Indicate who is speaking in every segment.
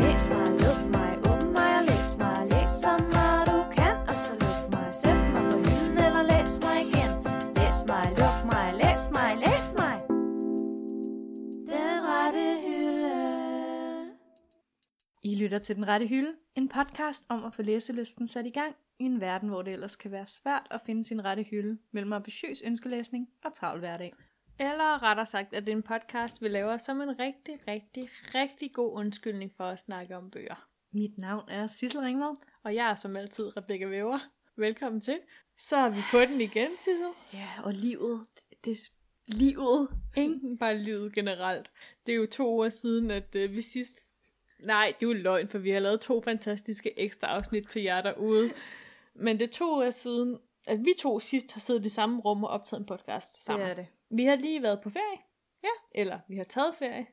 Speaker 1: Læs mig, luk mig, åbn mig og læs mig. Læs så meget du kan, og så luk mig. Sæt mig på hylden eller læs mig igen. Læs mig, luk mig, læs mig, læs mig. Den rette hylde.
Speaker 2: I lytter til Den Rette Hylde, en podcast om at få læselysten sat i gang i en verden, hvor det ellers kan være svært at finde sin rette hylde mellem ambitiøs ønskelæsning og travl hverdag.
Speaker 3: Eller rettere sagt, at det er en podcast, vi laver som en rigtig, rigtig, rigtig god undskyldning for at snakke om bøger.
Speaker 2: Mit navn er Sissel Ringvad.
Speaker 3: Og jeg er som altid Rebecca Væver. Velkommen til. Så er vi på den igen, Sissel.
Speaker 2: Ja, og livet, det, det livet, ikke?
Speaker 3: Ikke bare livet generelt. Det er jo to år siden, at øh, vi sidst... Nej, det er jo løgn, for vi har lavet to fantastiske ekstra afsnit til jer derude. Men det er to år siden, at vi to sidst har siddet i samme rum og optaget en podcast sammen.
Speaker 2: er det.
Speaker 3: Vi har lige været på ferie. Ja. Eller vi har taget ferie.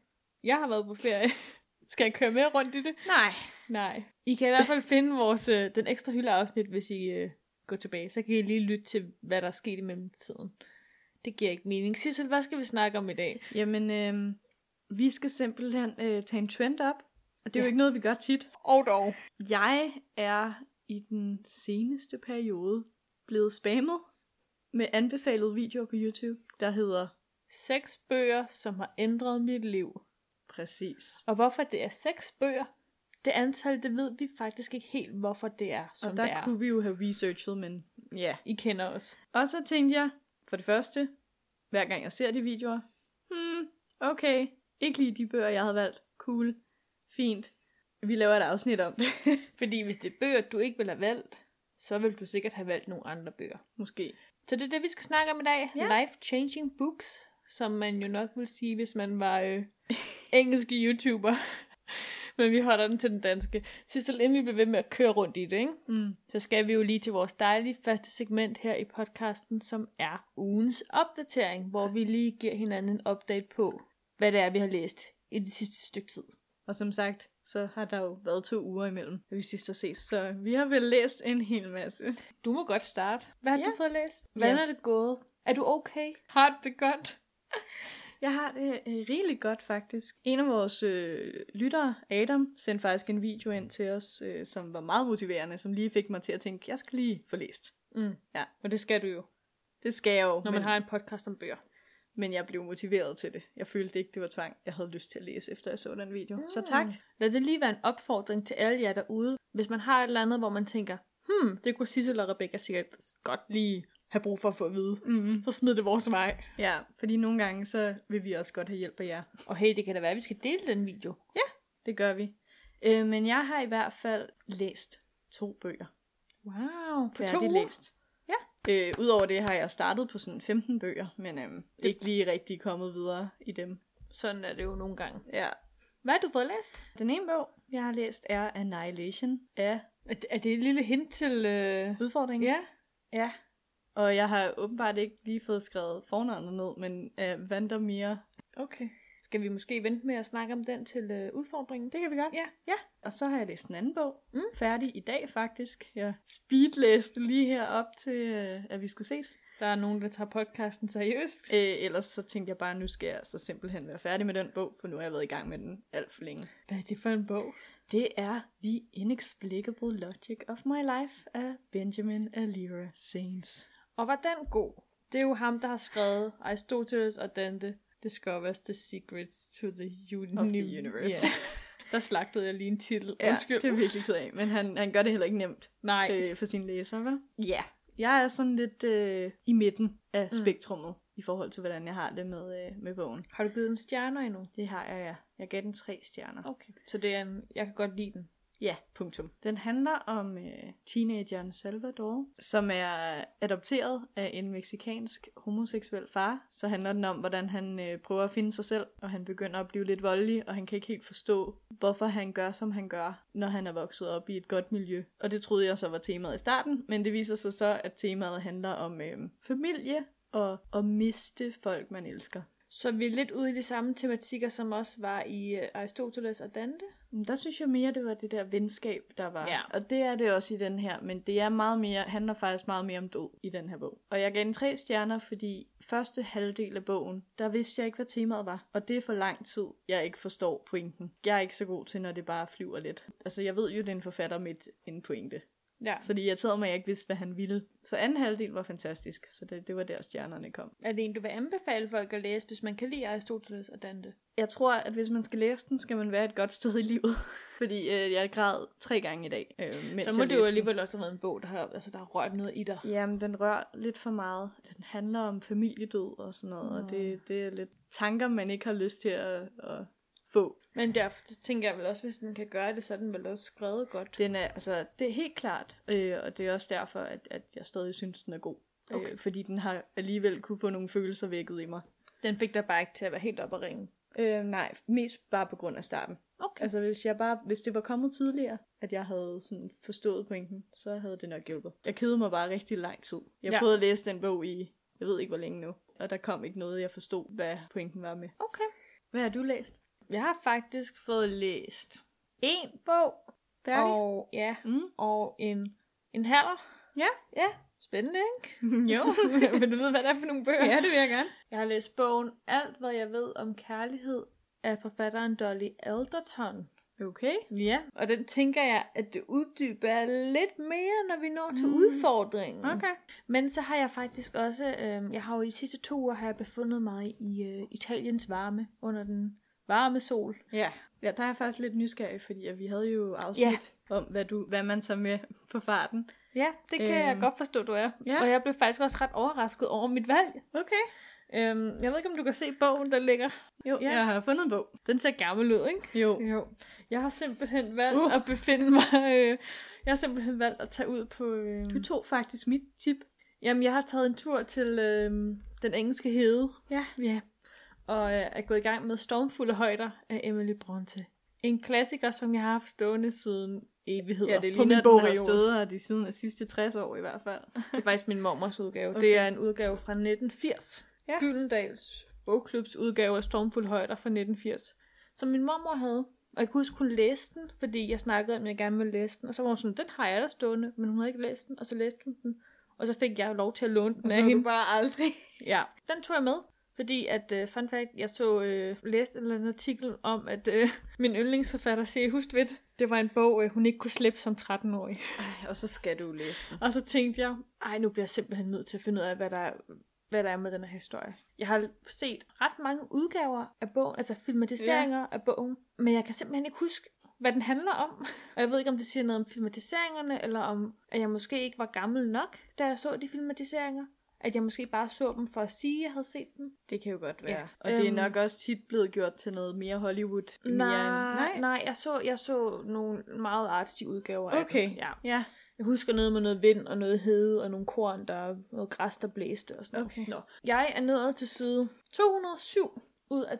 Speaker 3: Jeg har været på ferie. Skal jeg køre med rundt i det?
Speaker 2: Nej.
Speaker 3: Nej. I kan i hvert fald finde vores, øh, den ekstra hyldeafsnit, hvis I øh, går tilbage. Så kan I lige lytte til, hvad der er sket i mellemtiden. Det giver ikke mening. Sissel, hvad skal vi snakke om i dag?
Speaker 2: Jamen, øh, vi skal simpelthen øh, tage en trend op, og det er ja. jo
Speaker 3: Ja.
Speaker 2: ikke noget, vi gør tit.
Speaker 3: Og dog.
Speaker 2: Jeg er i den seneste periode blevet spammet med anbefalede videoer på YouTube, der hedder
Speaker 3: Seks bøger, som har ændret mit liv.
Speaker 2: Præcis.
Speaker 3: Og hvorfor det er seks bøger, det antal, det ved vi faktisk ikke helt, hvorfor det er, som
Speaker 2: og der
Speaker 3: det er.
Speaker 2: kunne vi jo have researchet, men ja.
Speaker 3: I kender os.
Speaker 2: Og så tænkte jeg, for det første, hver gang jeg ser de videoer, hmm, okay, ikke lige de bøger, jeg havde valgt. Cool. Fint. Vi laver et afsnit om det.
Speaker 3: Fordi hvis det er bøger, du ikke vil have valgt, så vil du sikkert have valgt nogle andre bøger.
Speaker 2: Måske.
Speaker 3: Så det er det, vi skal snakke om i dag.
Speaker 2: Ja.
Speaker 3: Ja. Life-changing books, som man jo nok vil sige, hvis man var øh, engelsk YouTuber. Men vi holder den til den danske. Sissel, inden vi bliver ved med at køre rundt i det, ikke?
Speaker 2: Mm.
Speaker 3: så skal vi jo lige til vores dejlige første segment her i podcasten, som er ugens opdatering, hvor vi lige giver hinanden en update på, hvad det er, vi har læst i det sidste stykke tid.
Speaker 2: Og som sagt, så har der jo været to uger imellem, at vi sidst har ses. Så vi har vel læst en hel masse.
Speaker 3: Du må godt starte. Hvad har
Speaker 2: Ja.
Speaker 3: ja. du fået læst? Hvordan
Speaker 2: Ja.
Speaker 3: ja. er det gået? Er du okay? Har du det godt?
Speaker 2: Jeg har det øh, rigeligt godt, faktisk. En af vores øh, lyttere, Adam, sendte faktisk en video ind til os, øh, som var meget motiverende, som lige fik mig til at tænke, jeg skal lige få læst.
Speaker 3: Mm.
Speaker 2: Ja.
Speaker 3: Og det skal du jo,
Speaker 2: Det skal jeg jo,
Speaker 3: når
Speaker 2: men,
Speaker 3: man har en podcast om bøger.
Speaker 2: men jeg blev motiveret til det. Jeg følte ikke, det var tvang. Jeg havde lyst til at læse, efter jeg så den video. Mm. Så
Speaker 3: Ah.
Speaker 2: tak.
Speaker 3: Lad det lige være en opfordring til alle jer derude, hvis man har et eller andet, hvor man tænker, hmm, det kunne Sissel og Rebecca sikkert godt lige have brug for at få at vide.
Speaker 2: Mm.
Speaker 3: Så smid det vores vej.
Speaker 2: Ja, fordi nogle gange, så vil vi også godt have hjælp af jer.
Speaker 3: Og hey, det kan da være, at vi skal dele den video.
Speaker 2: Det gør vi. Øh, men jeg har i hvert fald læst to bøger.
Speaker 3: Wow, for to
Speaker 2: færdig
Speaker 3: uger.
Speaker 2: læst. Ja. Øh, Udover det har jeg startet på sådan 15 bøger, men øhm, ikke lige rigtig kommet videre i dem.
Speaker 3: Sådan er det jo nogle gange.
Speaker 2: Ja.
Speaker 3: Hvad har du fået læst?
Speaker 2: Den ene bog, jeg har læst, er Annihilation af
Speaker 3: Er det, er det et lille hint til... Øh...
Speaker 2: udfordringen.
Speaker 3: Ja.
Speaker 2: ja. Og jeg har åbenbart ikke lige fået skrevet fornavnet ned, men øh, Vandermeer.
Speaker 3: Okay. Skal vi måske vente med at snakke om den til øh, udfordringen?
Speaker 2: Det kan vi godt.
Speaker 3: Ja.
Speaker 2: ja. Og så har jeg læst en anden bog,
Speaker 3: Mm.
Speaker 2: færdig i dag faktisk. Jeg speedlæste lige her op til, øh, at vi skulle ses.
Speaker 3: Der er nogen, der tager podcasten seriøst.
Speaker 2: Øh, ellers så tænkte jeg bare, at nu skal jeg så simpelthen være færdig med den bog, for nu har jeg været i gang med den alt for længe.
Speaker 3: Hvad er det for en bog?
Speaker 2: Det er The Inexplicable Logic of My Life af Benjamin Alira Saints.
Speaker 3: Og var den god? Det er jo ham, der har skrevet Aristoteles og Dante Discovers the Secrets to the, uni-
Speaker 2: Of the universe.
Speaker 3: Ja. Der slagtede jeg lige en titel.
Speaker 2: Ja,
Speaker 3: Undskyld.
Speaker 2: det er jeg virkelig ked af, men han, han gør det heller ikke nemt
Speaker 3: Nej.
Speaker 2: øh, for sine læsere, vel? Ja. Jeg er sådan lidt øh, i midten af
Speaker 3: Mm.
Speaker 2: spektrummet i forhold til, hvordan jeg har det med, øh, med bogen.
Speaker 3: Har du givet den stjerner endnu?
Speaker 2: Det har jeg, ja. Jeg gav den tre stjerner.
Speaker 3: Okay. Så det er en, jeg kan godt lide den.
Speaker 2: Ja, punktum. Den handler om øh, teenageren Salvador, som er adopteret af en meksikansk homoseksuel far. Så handler den om, hvordan han øh, prøver at finde sig selv, og han begynder at blive lidt voldelig, og han kan ikke helt forstå, hvorfor han gør, som han gør, når han er vokset op i et godt miljø. Og det troede jeg så var temaet i starten, men det viser sig så, at temaet handler om øh, familie og at miste folk, man elsker.
Speaker 3: Så vi er lidt ude i de samme tematikker, som også var i øh, Aristoteles og Dante.
Speaker 2: Men Der synes jeg mere, det var det der venskab, der var.
Speaker 3: Ja.
Speaker 2: Og det er det også i den her, men det er meget mere, handler faktisk meget mere om død i den her bog. Og jeg gav den tre stjerner, fordi første halvdel af bogen, der vidste jeg ikke, hvad temaet var. Og det er for lang tid, jeg ikke forstår pointen. Jeg er ikke så god til, når det bare flyver lidt. Altså, jeg ved jo, det er en forfatter med et- en pointe.
Speaker 3: Ja.
Speaker 2: Så det irriterede mig, at jeg ikke vidste, hvad han ville. Så anden halvdel var fantastisk, så det, det var der, stjernerne kom.
Speaker 3: Er det en, du vil anbefale folk at læse, hvis man kan lide Aristoteles og Dante?
Speaker 2: Jeg tror, at hvis man skal læse den, skal man være et godt sted i livet. Fordi øh, jeg græd tre gange i dag, øh, mens
Speaker 3: så må
Speaker 2: jeg
Speaker 3: det jo
Speaker 2: læste den.
Speaker 3: alligevel også have været en bog, der har, altså, der har rørt noget i dig.
Speaker 2: Jamen, den rører lidt for meget. Den handler om familiedød og sådan noget, og det, det er lidt tanker, man ikke har lyst til at, at få.
Speaker 3: Men derfor tænker jeg vel også, hvis den kan gøre det, så er den vel også skrevet godt.
Speaker 2: Den er, altså, det er helt klart, øh, og det er også derfor, at, at jeg stadig synes, den er god. Okay.
Speaker 3: Okay.
Speaker 2: Øh, fordi den har alligevel kunne få nogle følelser vækket i mig.
Speaker 3: Den fik dig bare ikke til at være helt op at ringe.
Speaker 2: Øh, nej, mest bare på grund af starten.
Speaker 3: Okay.
Speaker 2: Altså, hvis, jeg bare, hvis det var kommet tidligere, at jeg havde sådan forstået pointen, så havde det nok hjulpet. Jeg kedede mig bare rigtig lang tid. Jeg
Speaker 3: Ja.
Speaker 2: ja. prøvede at læse den bog i, jeg ved ikke hvor længe nu, og der kom ikke noget, jeg forstod, hvad pointen var med.
Speaker 3: Okay.
Speaker 2: Hvad har du læst?
Speaker 3: Jeg har faktisk fået læst en bog.
Speaker 2: Færdig?
Speaker 3: Og, ja,
Speaker 2: Mm.
Speaker 3: og en, en halv.
Speaker 2: Ja.
Speaker 3: Ja, spændende, ikke?
Speaker 2: jo.
Speaker 3: Vil du vide, hvad det er for nogle bøger?
Speaker 2: ja, det vil jeg gerne.
Speaker 3: Jeg har læst bogen Alt, hvad jeg ved om kærlighed af forfatteren Dolly Alderton.
Speaker 2: Okay.
Speaker 3: Ja, og den tænker jeg, at det uddyber lidt mere, når vi når til mm. udfordringen. Men så har jeg faktisk også, øh, jeg har jo i de sidste to uger, har jeg befundet mig i øh, Italiens varme, under den varme sol.
Speaker 2: Ja. ja, der er jeg faktisk lidt nysgerrig, fordi at vi havde jo afsnit ja. om, hvad, du, hvad man tager med på farten.
Speaker 3: Ja, det kan øhm, jeg
Speaker 2: Øhm,
Speaker 3: godt forstå, du er.
Speaker 2: ja.
Speaker 3: Og jeg blev faktisk også ret overrasket over mit valg.
Speaker 2: Okay.
Speaker 3: Øhm, jeg ved ikke, om du kan se bogen, der ligger.
Speaker 2: Jo,
Speaker 3: Ja.
Speaker 2: ja. jeg har fundet en bog.
Speaker 3: Den ser gammel ud, ikke?
Speaker 2: Jo.
Speaker 3: Jo. Jeg har simpelthen valgt uh.
Speaker 2: Uh.
Speaker 3: at befinde mig... Øh, jeg har simpelthen valgt at tage ud på... Øh,
Speaker 2: Du tog faktisk mit tip.
Speaker 3: jamen, jeg har taget en tur til øh, den engelske hede.
Speaker 2: Ja.
Speaker 3: Ja. Og øh, er gået i gang med Stormfulde Højder af Emily Bronte. En klassiker, som jeg har haft stående siden evigheder
Speaker 2: Ja, det
Speaker 3: på
Speaker 2: ligner,
Speaker 3: min
Speaker 2: at den har
Speaker 3: bogreol.
Speaker 2: stået her de siden af sidste 60 år i hvert fald.
Speaker 3: Det er faktisk min mormors udgave. Okay.
Speaker 2: Okay.
Speaker 3: Det er en udgave fra 1980. Ja.
Speaker 2: Ja.
Speaker 3: Gyldendals bogklubs udgave af Stormfuld Højder fra 1980, som min mormor havde. Og jeg kunne huske, hun læste den, fordi jeg snakkede om, at jeg gerne ville læse den. Og så var hun sådan, den har jeg der stående, men hun havde ikke læst den. Og så læste hun den, og så fik jeg lov til at låne den af hende.
Speaker 2: bare aldrig.
Speaker 3: Ja, den tog jeg med. Fordi at, uh, fun fact, jeg så uh, læste en eller anden artikel om, at uh, min yndlingsforfatter, C. Hustvedt, det var en bog, uh, hun ikke kunne slippe som 13-årig.
Speaker 2: Ej, og så skal du læse den.
Speaker 3: Og så tænkte jeg, ej, nu bliver jeg simpelthen nødt til at finde ud af, hvad der, hvad der er med den her historie. Jeg har set ret mange udgaver af bogen, altså filmatiseringer ja. af bogen, men jeg kan simpelthen ikke huske, hvad den handler om. Og jeg ved ikke, om det siger noget om filmatiseringerne, eller om, at jeg måske ikke var gammel nok, da jeg så de filmatiseringer. At jeg måske bare så dem for at sige, at jeg havde set dem.
Speaker 2: Det kan jo godt
Speaker 3: være.
Speaker 2: Ja. Og det er
Speaker 3: Øhm.
Speaker 2: nok også tit blevet gjort til noget mere Hollywood. end mere end-
Speaker 3: Nej, nej, jeg så, jeg så nogle meget artige udgaver af
Speaker 2: Okay.
Speaker 3: den. Ja.
Speaker 2: Ja.
Speaker 3: Jeg husker noget med noget vind og noget hede og nogle korn, der noget græs, der blæste og sådan noget.
Speaker 2: Okay.
Speaker 3: Nå. Jeg er nået til side 207 ud af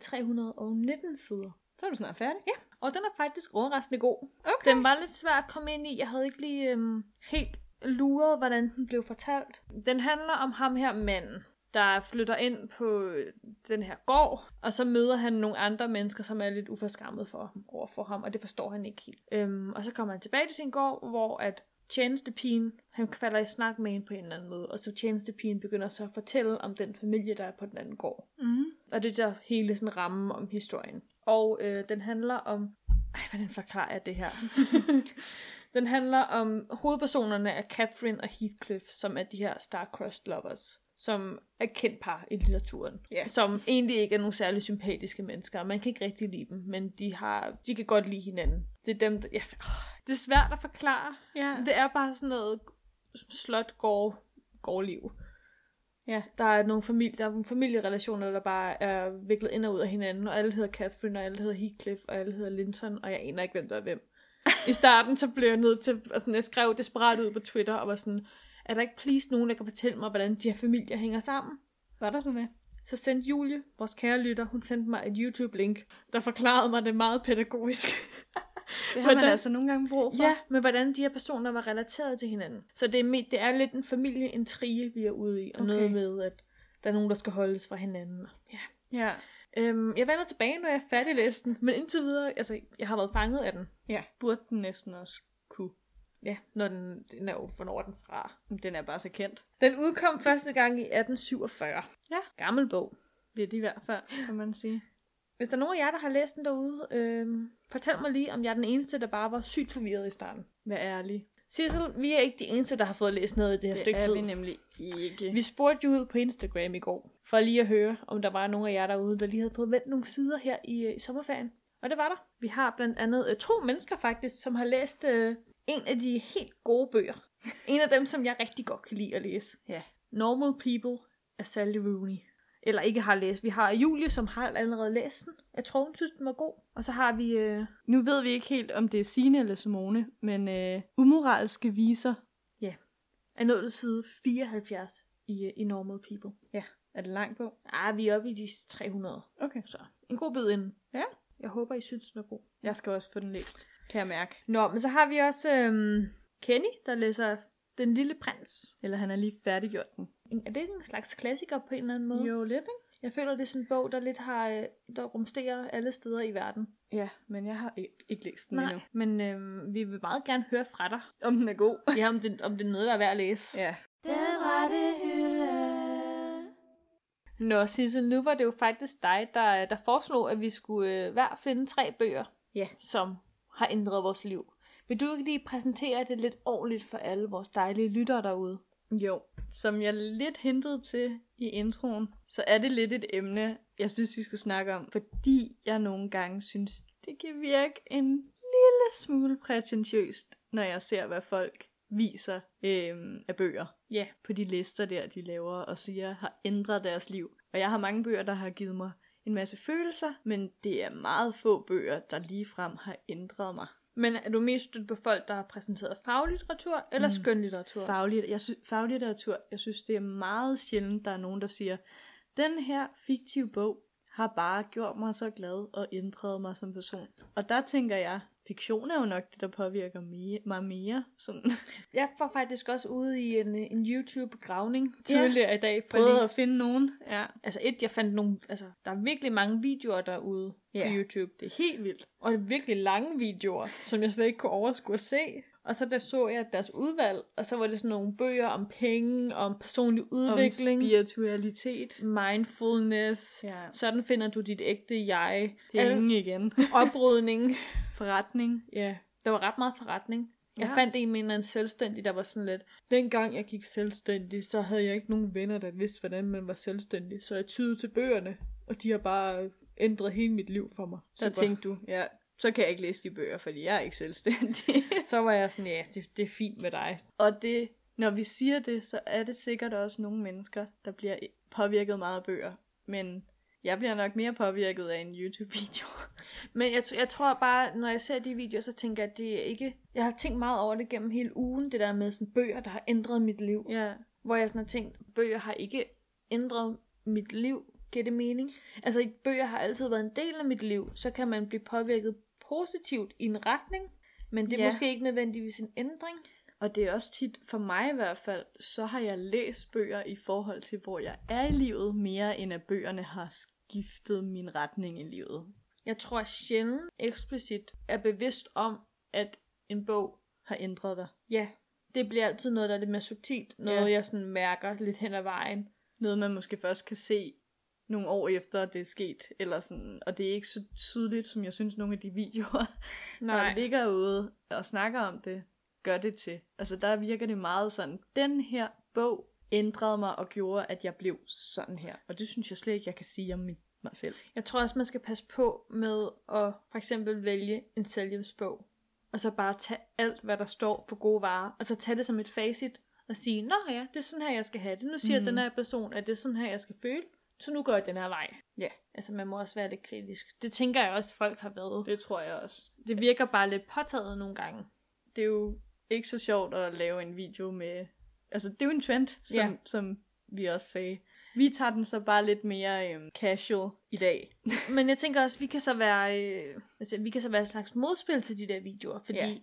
Speaker 3: 319 sider.
Speaker 2: Så er du snart færdig.
Speaker 3: Ja, og den er faktisk overraskende god.
Speaker 2: Okay.
Speaker 3: Den var lidt svær at komme ind i. Jeg havde ikke lige øhm, helt luret, hvordan den blev fortalt. Den handler om ham her manden, der flytter ind på øh, den her gård, og så møder han nogle andre mennesker, som er lidt uforskammet for, over for ham, og det forstår han ikke helt. Øhm, og så kommer han tilbage til sin gård, hvor at tjenestepigen, han falder i snak med hende på en eller anden måde, og så tjenestepigen begynder så at fortælle om den familie, der er på den anden gård.
Speaker 2: Mm.
Speaker 3: Og det er der hele sådan rammen om historien. Og øh, den handler om... Ej, hvordan forklarer jeg det her? den handler om hovedpersonerne af Catherine og Heathcliff, som er de her star-crossed lovers som er kendt par i litteraturen,
Speaker 2: Ja.
Speaker 3: som egentlig ikke er nogle særlig sympatiske mennesker, og man kan ikke rigtig lide dem, men de, har, de kan godt lide hinanden. Det er dem, der, ja, åh, det er svært at forklare.
Speaker 2: Ja.
Speaker 3: Det er bare sådan noget slot gård, gårdliv.
Speaker 2: Ja.
Speaker 3: Der er nogle, familie, der er nogle familierelationer, der bare er viklet ind og ud af hinanden, og alle hedder Catherine, og alle hedder Heathcliff, og alle hedder Linton, og jeg aner ikke, hvem der er hvem. I starten, så blev jeg nødt til, altså jeg skrev desperat ud på Twitter, og var sådan, er der ikke please nogen, der kan fortælle mig, hvordan de her familier hænger sammen?
Speaker 2: Var der sådan noget?
Speaker 3: Så sendte Julie, vores kære lytter, hun sendte mig et YouTube-link, der forklarede mig det meget pædagogisk.
Speaker 2: Det har
Speaker 3: Hvordan-
Speaker 2: man altså nogle gange brug for.
Speaker 3: Ja, men hvordan de her personer var relateret til hinanden. Så det er, me- det er lidt en familieintrige, vi er ude i, og okay.
Speaker 2: Okay.
Speaker 3: noget med, at der er nogen, der skal holdes fra hinanden. Ja.
Speaker 2: Ja.
Speaker 3: Øhm, jeg vender tilbage, når jeg er færdig listen, men indtil videre, altså, jeg har været fanget af den.
Speaker 2: Ja. Burde den næsten også kunne.
Speaker 3: Ja, når den, den er, hvornår er den fra?
Speaker 2: Men Den er bare så kendt.
Speaker 3: Den udkom første gang i 1847.
Speaker 2: Ja.
Speaker 3: Gammel bog.
Speaker 2: Lidt i hvert fald, kan man sige.
Speaker 3: Hvis der er nogen af jer, der har læst den derude, øhm, fortæl mig lige, om jeg er den eneste, der bare var sygt forvirret i starten.
Speaker 2: Vær ærlig.
Speaker 3: Sissel, vi er ikke de eneste, der har fået læst noget i det her det
Speaker 2: Det
Speaker 3: stykke
Speaker 2: er
Speaker 3: tid.
Speaker 2: vi nemlig ikke.
Speaker 3: Vi spurgte jo ud på Instagram i går, for lige at høre, om der var nogen af jer derude, der lige havde fået vendt nogle sider her i, øh, i sommerferien. Og det var der. Vi har blandt andet øh, to mennesker faktisk, som har læst øh, en af de helt gode bøger. En af dem, som jeg rigtig godt kan lide at læse.
Speaker 2: Ja.
Speaker 3: Normal People af Sally Rooney. Eller ikke har læst. Vi har Julie, som har allerede læst den. Jeg tror, hun synes, den var god. Og så har vi... Øh,
Speaker 2: Nu ved vi ikke helt, om det er Signe eller Simone, men øh, umoralske viser.
Speaker 3: er nået til side 74 i, øh, i Normal People.
Speaker 2: Ja. Er det lang på?
Speaker 3: Ah, vi er oppe i de 300.
Speaker 2: Okay.
Speaker 3: Så en god bid inden.
Speaker 2: Ja.
Speaker 3: Jeg håber, I synes, den er god.
Speaker 2: Jeg skal også få den læst, kan jeg mærke.
Speaker 3: Nå, men så har vi også øhm, Kenny, der læser Den Lille Prins.
Speaker 2: Eller han er lige færdiggjort den.
Speaker 3: En- Er det ikke en slags klassiker på en eller anden måde?
Speaker 2: Jo, lidt, ikke?
Speaker 3: Jeg føler, det er sådan en bog, der lidt har, øh, der rumsterer alle steder i verden.
Speaker 2: Ja, men jeg har ikke, ikke læst den endnu.
Speaker 3: men øhm, vi vil meget gerne høre fra dig.
Speaker 2: Om den er god.
Speaker 3: Ja, om det, om det er noget, der er værd at læse.
Speaker 2: ja.
Speaker 1: Den rette hylde.
Speaker 3: Nå, Sisse, nu var det jo faktisk dig, der, der foreslog, at vi skulle øh, hver finde tre bøger,
Speaker 2: Ja.
Speaker 3: som har ændret vores liv. Vil du ikke lige præsentere det lidt ordentligt for alle vores dejlige lyttere derude?
Speaker 2: Jo, som jeg lidt hintede til i introen, så er det lidt et emne, jeg synes, vi skulle snakke om, fordi jeg nogle gange synes, det kan virke en lille smule prætentiøst, når jeg ser, hvad folk viser øhm, af bøger
Speaker 3: Ja. Yeah.
Speaker 2: på de lister der, de laver og siger, har ændret deres liv. Og jeg har mange bøger, der har givet mig en masse følelser, men det er meget få bøger, der ligefrem har ændret mig.
Speaker 3: Men er du mest stødt på folk, der har præsenteret faglitteratur eller mm. skønlitteratur?
Speaker 2: Faglig, jeg sy- faglitteratur, jeg synes, det er meget sjældent, der er nogen, der siger, den her fiktive bog har bare gjort mig så glad og ændret mig som person. Og der tænker jeg, fiktion er jo nok det, der påvirker me- mig mere. Sådan.
Speaker 3: jeg var faktisk også ude i en, øh, en YouTube-gravning
Speaker 2: Ja.
Speaker 3: tidligere i dag. For
Speaker 2: Prøvede
Speaker 3: lige,
Speaker 2: at finde nogen. Ja,
Speaker 3: altså et, jeg fandt nogle... Altså, der er virkelig mange videoer derude
Speaker 2: Ja.
Speaker 3: på YouTube.
Speaker 2: det er helt vildt.
Speaker 3: Og det er virkelig lange videoer, som jeg slet ikke kunne overskue at se. Og så der så jeg deres udvalg, og så var det sådan nogle bøger om penge, om personlig udvikling,
Speaker 2: Om spiritualitet.
Speaker 3: mindfulness.
Speaker 2: Ja.
Speaker 3: Sådan finder du dit ægte jeg. Al-
Speaker 2: Penge igen.
Speaker 3: oprydning.
Speaker 2: Forretning.
Speaker 3: Ja, der var ret meget forretning. Jeg
Speaker 2: Ja.
Speaker 3: fandt en med en eller anden selvstændig, der var sådan lidt, dengang jeg gik selvstændig, så havde jeg ikke nogen venner, der vidste, hvordan man var selvstændig, så jeg tyede til bøgerne, og de har bare ændret hele mit liv for mig.
Speaker 2: Så tænkte du, ja, så kan jeg ikke læse de bøger, fordi jeg er ikke selvstændig.
Speaker 3: så var jeg sådan, ja, det, det er fint med dig.
Speaker 2: og det, når vi siger det, så er det sikkert også nogle mennesker, der bliver påvirket meget af bøger. Men jeg bliver nok mere påvirket af en YouTube-video.
Speaker 3: Men jeg, t- jeg tror bare, når jeg ser de videoer, så tænker jeg, at det er ikke... Jeg har tænkt meget over det gennem hele ugen, det der med sådan bøger, der har ændret mit liv.
Speaker 2: ja.
Speaker 3: Hvor jeg sådan har tænkt, bøger har ikke ændret mit liv. Giver det mening? Altså, bøger har altid været en del af mit liv. Så kan man blive påvirket positivt i en retning, men det er
Speaker 2: Ja.
Speaker 3: ja. måske ikke nødvendigvis en ændring.
Speaker 2: Og det er også tit, for mig i hvert fald, så har jeg læst bøger i forhold til, hvor jeg er i livet, mere end at bøgerne har skiftet min retning i livet.
Speaker 3: Jeg tror sjældent eksplicit er bevidst om, at en bog,
Speaker 2: Har ændret dig.
Speaker 3: ja, det bliver altid noget, der er lidt mere subtilt. Noget,
Speaker 2: Ja.
Speaker 3: jeg sådan mærker lidt hen ad vejen.
Speaker 2: noget, man måske først kan se nogle år efter, at det er sket, eller sådan, og det er ikke så tydeligt, som jeg synes, nogle af de videoer,
Speaker 3: Nej.
Speaker 2: der ligger ude og snakker om det, gør det til. Altså, der virker det meget sådan, den her bog ændrede mig og gjorde, at jeg blev sådan her. Og det synes jeg slet ikke, jeg kan sige om mit, mig selv.
Speaker 3: Jeg tror også, man skal passe på med at for eksempel vælge en selvhjælpsbog, og så bare tage alt, hvad der står på gode varer, og så tage det som et facit, og sige, nå ja, det er sådan her, jeg skal have det. Nu siger mm. den her person, at det er sådan her, jeg skal føle, så nu går jeg den her vej.
Speaker 2: Ja,
Speaker 3: Altså, man må også være lidt kritisk. Det tænker jeg også, folk har været.
Speaker 2: det tror jeg også.
Speaker 3: Det virker bare lidt påtaget nogle gange.
Speaker 2: Det er jo ikke så sjovt at lave en video med... Altså, det er jo en trend, som,
Speaker 3: Ja.
Speaker 2: som vi også sagde. Vi tager den så bare lidt mere øhm, casual i dag.
Speaker 3: Men jeg tænker også, vi kan så være, øh, altså, vi kan så være et slags modspil til de der videoer, fordi
Speaker 2: Ja.
Speaker 3: ja.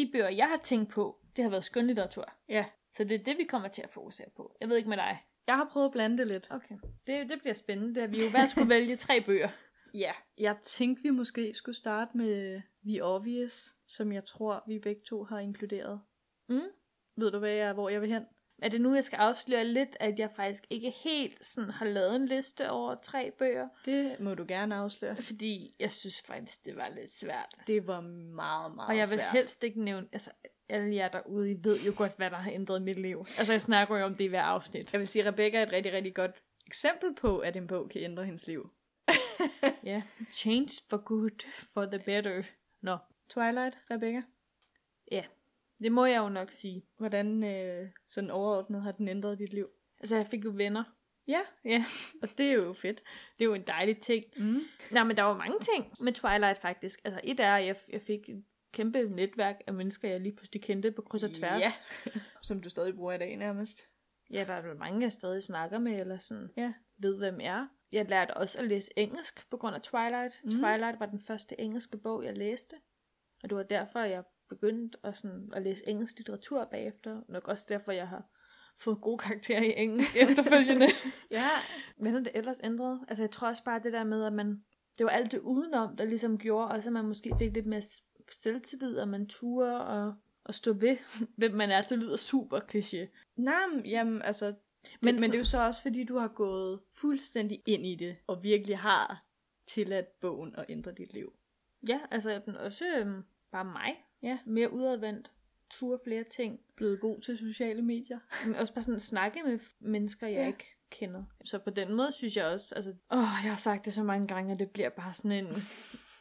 Speaker 3: de bøger, jeg har tænkt på, det har været skønlitteratur.
Speaker 2: Ja,
Speaker 3: Så det er det, vi kommer til at fokusere på. Jeg ved ikke med dig.
Speaker 2: Jeg har prøvet at blande det lidt.
Speaker 3: Okay. Det, det bliver spændende. Det har vi jo hver skulle vælge tre bøger. Ja.
Speaker 2: Jeg tænkte, vi måske skulle starte med The Obvious, som jeg tror, vi begge to har inkluderet.
Speaker 3: Mm.
Speaker 2: Ved du, hvad jeg, hvor jeg vil hen?
Speaker 3: Er det nu, jeg skal afsløre lidt, at jeg faktisk ikke helt sådan har lavet en liste over tre bøger?
Speaker 2: Det må du gerne afsløre.
Speaker 3: Fordi jeg synes faktisk, det var lidt svært.
Speaker 2: Det var meget, meget
Speaker 3: Og jeg vil
Speaker 2: svært.
Speaker 3: helst ikke nævne... Altså, alle jer derude, I ved jo godt, hvad der har ændret mit liv. Altså, jeg snakker jo om det i hver afsnit.
Speaker 2: Jeg vil sige, at Rebecca er et rigtig, rigtig godt eksempel på, at en bog kan ændre hendes liv.
Speaker 3: Ja. Change for good, for the better. Nå,
Speaker 2: Twilight, Rebecca,
Speaker 3: det må jeg jo nok sige.
Speaker 2: hvordan øh, sådan overordnet har den ændret dit liv?
Speaker 3: Altså, jeg fik jo venner.
Speaker 2: Ja,
Speaker 3: Ja,
Speaker 2: og det er jo fedt.
Speaker 3: det er jo en dejlig ting.
Speaker 2: Mm.
Speaker 3: Nej, men der var mange ting med Twilight faktisk. Altså et er, at jeg, jeg fik et kæmpe netværk af mennesker, jeg lige pludselig kendte på kryds og tværs.
Speaker 2: Ja. Som du stadig bruger i dag nærmest.
Speaker 3: ja der er vel mange, jeg stadig snakker med, eller sådan
Speaker 2: Ja.
Speaker 3: ved, hvem er. Jeg lærte også at læse engelsk på grund af Twilight. Mm.
Speaker 2: Mm.
Speaker 3: Twilight var den første engelske bog, jeg læste. Og det var derfor, jeg begyndte at, sådan, at læse engelsk litteratur bagefter. Nok også derfor, jeg har fået gode karakterer i engelsk efterfølgende.
Speaker 2: Ja.
Speaker 3: Men er det ellers ændret? Altså jeg tror også bare det der med, at man, det var alt det udenom, der ligesom gjorde også, at man måske fik lidt mere s- selvtillid, og man turde og, og stå ved, hvem man er. Det lyder super kliché.
Speaker 2: Nej, men, jamen altså... Det,
Speaker 3: Men
Speaker 2: men, men
Speaker 3: så-
Speaker 2: det er jo så også, fordi du har gået fuldstændig ind i det, og virkelig har tilladt bogen at ændre dit liv.
Speaker 3: Ja, altså men også øhm, bare mig.
Speaker 2: Ja.
Speaker 3: Mere udadvendt. Ture flere ting.
Speaker 2: Blevet god til sociale medier.
Speaker 3: Men også bare sådan snakke med f- mennesker, jeg ja.
Speaker 2: Ja.
Speaker 3: ikke kender. Så på den måde synes jeg også, altså, åh, jeg har sagt det så mange gange, og det bliver bare sådan en,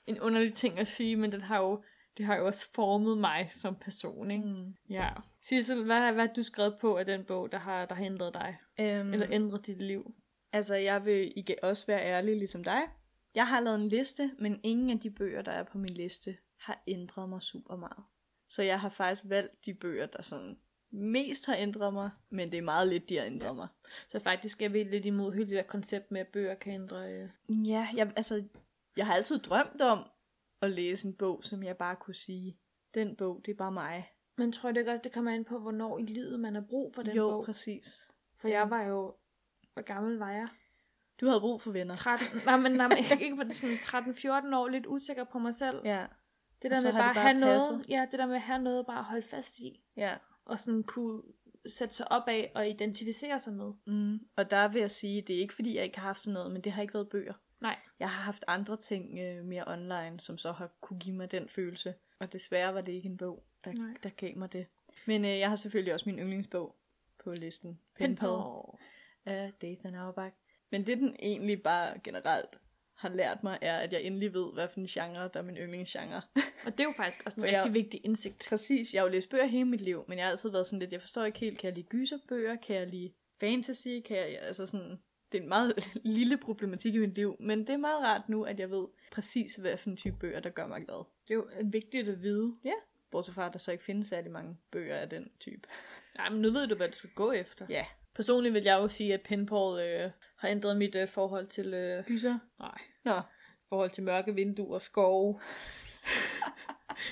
Speaker 3: en underlig ting at sige, men den har jo, det har jo også formet mig som person, ikke?
Speaker 2: Mm.
Speaker 3: Ja. Sissel, hvad, hvad har du skrevet på af den bog, der har, der har ændret dig?
Speaker 2: Øhm,
Speaker 3: Mm. Eller ændret dit liv?
Speaker 2: Altså, jeg vil ikke også være ærlig ligesom dig. Jeg har lavet en liste, men ingen af de bøger, der er på min liste, har ændret mig super meget. Så jeg har faktisk valgt de bøger, der sådan mest har ændret mig, men det er meget lidt, de har ændret ja. mig.
Speaker 3: Så faktisk er vi lidt imod hele det der koncept med, at bøger kan ændre... Øh.
Speaker 2: Ja, jeg, altså, jeg har altid drømt om at læse en bog, som jeg bare kunne sige, den bog, det er bare mig.
Speaker 3: Men tror du ikke også, det kommer an på, hvornår i livet man har brug for den
Speaker 2: jo,
Speaker 3: bog?
Speaker 2: præcis.
Speaker 3: For jeg var jo... Hvor gammel var jeg?
Speaker 2: Du havde brug for venner.
Speaker 3: 13... Nej, men, nej, men ikke- ikke på sådan 13-14 år, lidt usikker på mig selv.
Speaker 2: Ja,
Speaker 3: Det der
Speaker 2: Og så
Speaker 3: med
Speaker 2: har
Speaker 3: bare at
Speaker 2: det bare
Speaker 3: have noget,
Speaker 2: passet.
Speaker 3: ja, det der med at have noget bare at holde fast i,
Speaker 2: ja.
Speaker 3: og sådan kunne sætte sig op af og identificere sig med.
Speaker 2: Mm. Og der vil jeg sige, det er ikke fordi, jeg ikke har haft sådan noget, men det har ikke været bøger.
Speaker 3: Nej,
Speaker 2: Jeg har haft andre ting øh, mere online, som så har kunne give mig den følelse. Og desværre var det ikke en bog, der,
Speaker 3: Nej.
Speaker 2: der gav mig det. Men øh, jeg har selvfølgelig også min yndlingsbog på listen. Pinball af Dathan Auerbach. Men det den egentlig bare generelt har lært mig, er, at jeg endelig ved, hvad for en genre, der er min yndlingsgenre.
Speaker 3: Og det er jo faktisk også en
Speaker 2: For jeg-
Speaker 3: rigtig vigtig indsigt.
Speaker 2: Præcis, jeg har jo læst bøger hele mit liv, men jeg har altid været sådan lidt, jeg forstår ikke helt, kan jeg lide gyserbøger, kan jeg lide fantasy, kan jeg, altså sådan, det er en meget lille problematik i mit liv, men det er meget rart nu, at jeg ved præcis, hvad for en type bøger, der gør mig glad.
Speaker 3: Det er jo øh, vigtigt at vide.
Speaker 2: Bortset fra, at der så ikke findes særlig mange bøger af den type.
Speaker 3: Nej, men nu ved du, hvad du skal gå efter.
Speaker 2: Ja.
Speaker 3: Personligt vil jeg jo sige, at pinball øh, har ændret mit øh, forhold til... Øh,
Speaker 2: Gyser?
Speaker 3: nej,
Speaker 2: Nå.
Speaker 3: forhold til mørke vinduer, skove.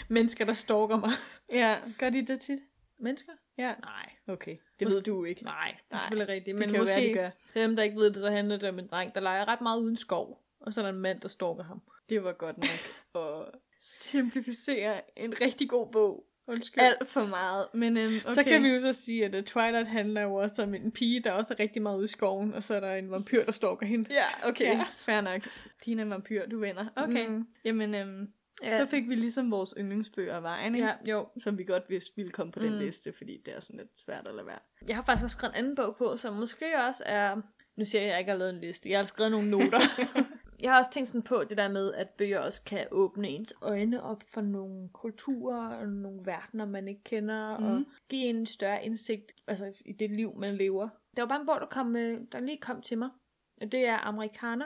Speaker 3: Mennesker, der stalker mig.
Speaker 2: Ja, gør de det tit?
Speaker 3: Mennesker?
Speaker 2: Ja.
Speaker 3: Nej.
Speaker 2: Okay, det
Speaker 3: Mås-
Speaker 2: ved du ikke.
Speaker 3: Nej, det er
Speaker 2: Nej,
Speaker 3: selvfølgelig rigtigt.
Speaker 2: det
Speaker 3: Men
Speaker 2: kan jo
Speaker 3: måske,
Speaker 2: være, de gør.
Speaker 3: for dem, der ikke ved det, så handler det om en dreng, der leger ret meget uden skov. Og så er der en mand, der stalker ham.
Speaker 2: Det var godt nok at simplificere en rigtig god bog.
Speaker 3: Undskyld.
Speaker 2: Alt for meget, men øhm, okay.
Speaker 3: Okay. Så kan vi jo så sige, at øh, Twilight handler jo også om en pige, der også er rigtig meget ude i skoven, og så er der en vampyr, der stalker hende.
Speaker 2: Ja, okay.
Speaker 3: Ja.
Speaker 2: Ja. Fair nok. Din er vampyr, du vinder. Okay.
Speaker 3: Mm.
Speaker 2: Mm. Jamen, øhm,
Speaker 3: Ja.
Speaker 2: ja. så fik vi ligesom vores yndlingsbøger af vejen, ikke?
Speaker 3: Ja, jo.
Speaker 2: Som vi godt vidste ville komme på den
Speaker 3: Mm.
Speaker 2: mm. liste, fordi det er sådan lidt svært at lade være.
Speaker 3: Jeg har faktisk også skrevet en anden bog på, som måske også er... Nu siger jeg, at jeg ikke har lavet en liste. Jeg har skrevet nogle noter. jeg har også tænkt sådan på det der med, at bøger også kan åbne ens øjne op for nogle kulturer og nogle verdener, man ikke kender, mm. og
Speaker 2: Mhm.
Speaker 3: give en større indsigt altså, i det liv, man lever. Der var bare en bog, der, kom, øh, der lige kom til mig, og det er Amerikaner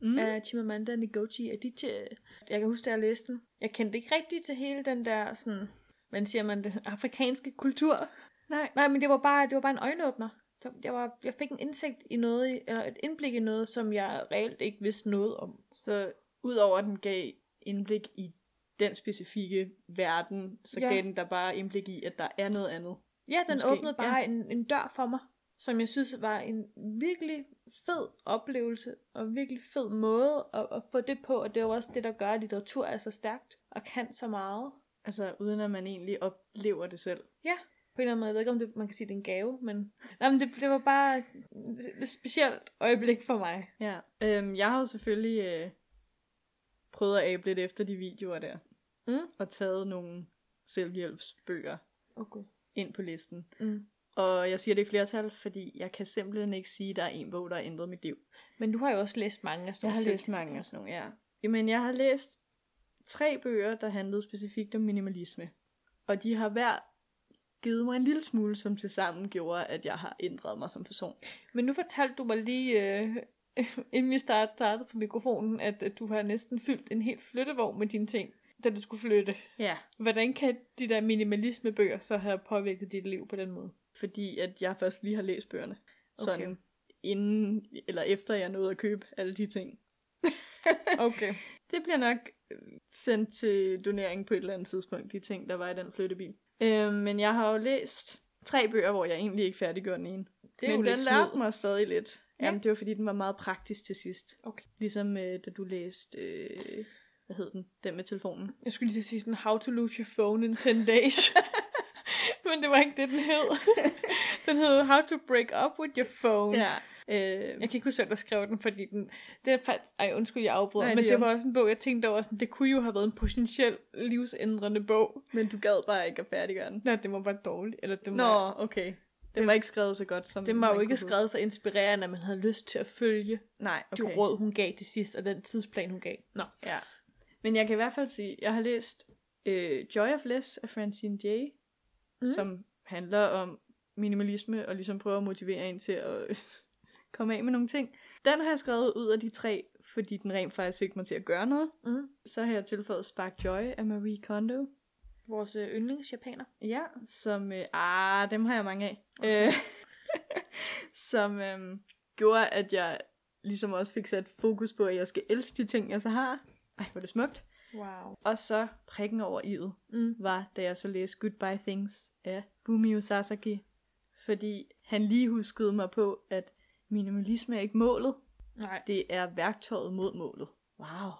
Speaker 3: mm.
Speaker 2: Mm.
Speaker 3: af Chimamanda Ngozi Adichie. Jeg kan huske, da jeg læste den. Jeg kendte ikke rigtigt til hele den der, sådan, hvordan siger man det, afrikanske kultur.
Speaker 2: Nej.
Speaker 3: Nej, men det var bare, det var bare en øjenåbner. Der- Jeg, var, jeg fik en indsigt i noget, i- eller et indblik i noget, som jeg reelt ikke vidste noget om.
Speaker 2: Så udover at den gav indblik i den specifikke verden, så
Speaker 3: Ja.
Speaker 2: ja. gav den der bare indblik i, at der er noget andet.
Speaker 3: Ja, den
Speaker 2: Måske,
Speaker 3: åbnede bare ja. en, en dør for mig. som jeg synes var en virkelig fed oplevelse, og virkelig fed måde at, at få det på, og det er jo også det, der gør, at litteratur er så stærkt, og kan så meget.
Speaker 2: Altså, uden at man egentlig oplever det selv.
Speaker 3: Ja, på en eller anden måde. Jeg ved ikke, om det, man kan sige, det er en gave, men, nej, men det, det var bare et specielt øjeblik for mig.
Speaker 2: Ja. Øhm, jeg har jo selvfølgelig øh, prøvet at abe lidt efter de videoer der,
Speaker 3: Mm.
Speaker 2: og taget nogle selvhjælpsbøger
Speaker 3: Åh oh, gud.
Speaker 2: ind på listen.
Speaker 3: Mm.
Speaker 2: Og jeg siger det i flertal, fordi jeg kan simpelthen ikke sige, at der er en bog, der har ændret mit liv.
Speaker 3: Men du har jo også læst mange af sådan
Speaker 2: Jeg har
Speaker 3: nogle
Speaker 2: læst
Speaker 3: selv-
Speaker 2: mange af sådan nogle, ja. Jamen, jeg har læst tre bøger, der handlede specifikt om minimalisme. Og de har hver givet mig en lille smule, som tilsammen gjorde, at jeg har ændret mig som person.
Speaker 3: Men nu fortalte du mig lige, øh, inden vi start- startede på mikrofonen, at, at du har næsten fyldt en helt flyttevogn med dine ting, da du skulle flytte.
Speaker 2: Ja.
Speaker 3: Hvordan kan de der minimalismebøger så have påvirket dit liv på den måde?
Speaker 2: Fordi at jeg først lige har læst bøgerne. Sådan
Speaker 3: Okay.
Speaker 2: inden eller efter jeg nåede at købe alle de ting.
Speaker 3: Okay.
Speaker 2: Det bliver nok øh, sendt til donering på et eller andet tidspunkt, de ting, der var i den flyttebil. Øh, men jeg har jo læst tre bøger, hvor jeg egentlig ikke færdiggjorde den ene.
Speaker 3: Det er
Speaker 2: Men
Speaker 3: jo
Speaker 2: den
Speaker 3: lidt
Speaker 2: lærte
Speaker 3: snyd.
Speaker 2: mig stadig lidt.
Speaker 3: Ja.
Speaker 2: Ja. Jamen, det var fordi, den var meget praktisk til sidst.
Speaker 3: Okay.
Speaker 2: Ligesom øh, da du læste, øh, hvad hed den? Den med telefonen.
Speaker 3: Jeg skulle lige til at sige sådan, how to lose your phone in 10 days. Men det var ikke det, den hed. den hed How to break up with your phone.
Speaker 2: Ja. Øh,
Speaker 3: Jeg kan ikke huske, hvem der skrev den, fordi den... Det er faktisk... Ej, undskyld, jeg afbryder,
Speaker 2: Nej,
Speaker 3: men
Speaker 2: det er
Speaker 3: det
Speaker 2: jo-
Speaker 3: var også en bog, jeg tænkte over sådan, det kunne jo have været en potentiel livsændrende bog.
Speaker 2: men du gad bare ikke at færdiggøre den.
Speaker 3: Nej, det må være dårligt. Eller det må,
Speaker 2: Nå, okay. Den var ikke skrevet så godt, som
Speaker 3: det var
Speaker 2: man
Speaker 3: jo ikke
Speaker 2: kunne
Speaker 3: skrevet så inspirerende, at man havde lyst til at følge
Speaker 2: håbe. Nej,
Speaker 3: okay. de råd, hun gav til sidst, og den tidsplan, hun gav. Nå.
Speaker 2: Ja. Men jeg kan i hvert fald sige, jeg har læst øh, Joy of Less af Francine Jay,
Speaker 3: Mm.
Speaker 2: mm. som handler om minimalisme og ligesom prøver at motivere en til at komme af med nogle ting. Den har jeg skrevet ud af de tre, fordi den rent faktisk fik mig til at gøre noget.
Speaker 3: Mm.
Speaker 2: Så har jeg tilføjet Spark Joy af Marie Kondo.
Speaker 3: Vores øh, yndlingsjapaner.
Speaker 2: Ja, som... Øh, ah, dem har jeg mange af. Okay. Øh, som øh, gjorde, at jeg ligesom også fik sat fokus på, at jeg skal elske de ting, jeg så har. Ej, hvor er det smukt.
Speaker 3: Wow.
Speaker 2: Og så prikken over i'et
Speaker 3: Mm.
Speaker 2: var, da jeg så læste Goodbye Things af Fumio Sasaki. Fordi han lige huskede mig på, at minimalisme er ikke målet.
Speaker 3: Nej.
Speaker 2: Det er værktøjet mod målet. Wow.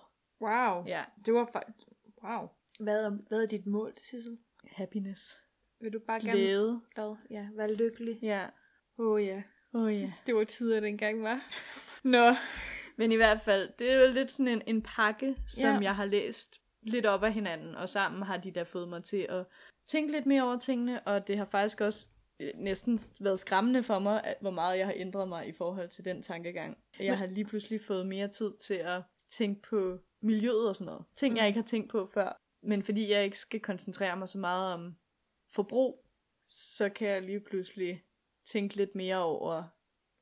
Speaker 3: Wow.
Speaker 2: Ja,
Speaker 3: Det var faktisk... Wow. Hvad er, hvad er dit mål, Sissel?
Speaker 2: happiness.
Speaker 3: Vil du bare gerne...
Speaker 2: Glæde.
Speaker 3: Glad. Ja, være lykkelig.
Speaker 2: Ja.
Speaker 3: Åh oh, ja.
Speaker 2: Åh oh, ja.
Speaker 3: Det var tider dengang, var. Nå.
Speaker 2: Men i hvert fald, det er jo lidt sådan en, en pakke, som
Speaker 3: Ja.
Speaker 2: jeg har læst lidt op af hinanden, og sammen har de der fået mig til at tænke lidt mere over tingene, og det har faktisk også øh, næsten været skræmmende for mig, at, hvor meget jeg har ændret mig i forhold til den tankegang. Jeg har lige pludselig fået mere tid til at tænke på miljøet og sådan noget. Ting, jeg ikke har tænkt på før. Men fordi jeg ikke skal koncentrere mig så meget om forbrug, så kan jeg lige pludselig tænke lidt mere over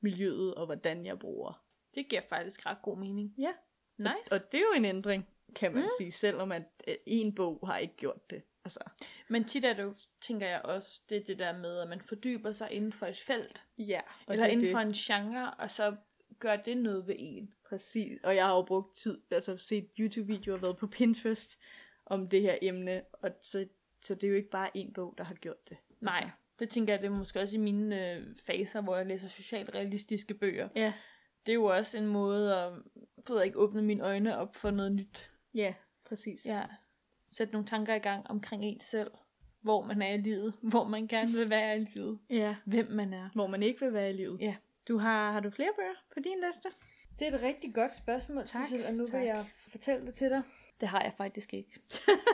Speaker 2: miljøet og hvordan jeg bruger
Speaker 3: Det giver faktisk ret god mening.
Speaker 2: Ja.
Speaker 3: Nice.
Speaker 2: Og det er jo en ændring, kan man mm. sige, selvom at øh, en bog har ikke gjort det. Altså,
Speaker 3: Men tit er det jo, tænker jeg også, det er det der med, at man fordyber sig inden for et felt,
Speaker 2: ja.
Speaker 3: og eller inden for en genre, og så gør det noget ved en.
Speaker 2: Præcis. Og jeg har jo brugt tid, altså set YouTube-videoer, været på Pinterest om det her emne, og så, så det er jo ikke bare én bog, der har gjort det.
Speaker 3: Nej,
Speaker 2: Altså,
Speaker 3: det tænker jeg, det er måske også i mine øh, faser, hvor jeg læser socialrealistiske bøger.
Speaker 2: ja.
Speaker 3: Det er jo også en måde at ved jeg ikke, åbne mine øjne op for noget nyt.
Speaker 2: Ja, præcis.
Speaker 3: Ja. Sætte nogle tanker i gang omkring en selv. Hvor man er i livet. Hvor man gerne vil være i livet.
Speaker 2: ja.
Speaker 3: Hvem man er.
Speaker 2: Hvor man ikke vil være i livet.
Speaker 3: Ja.
Speaker 2: Du har, har du flere bøger på din liste?
Speaker 3: Det er et rigtig godt spørgsmål,
Speaker 2: Tak,
Speaker 3: Cecil, og nu
Speaker 2: tak.
Speaker 3: vil jeg fortælle det til dig. Det har jeg faktisk ikke.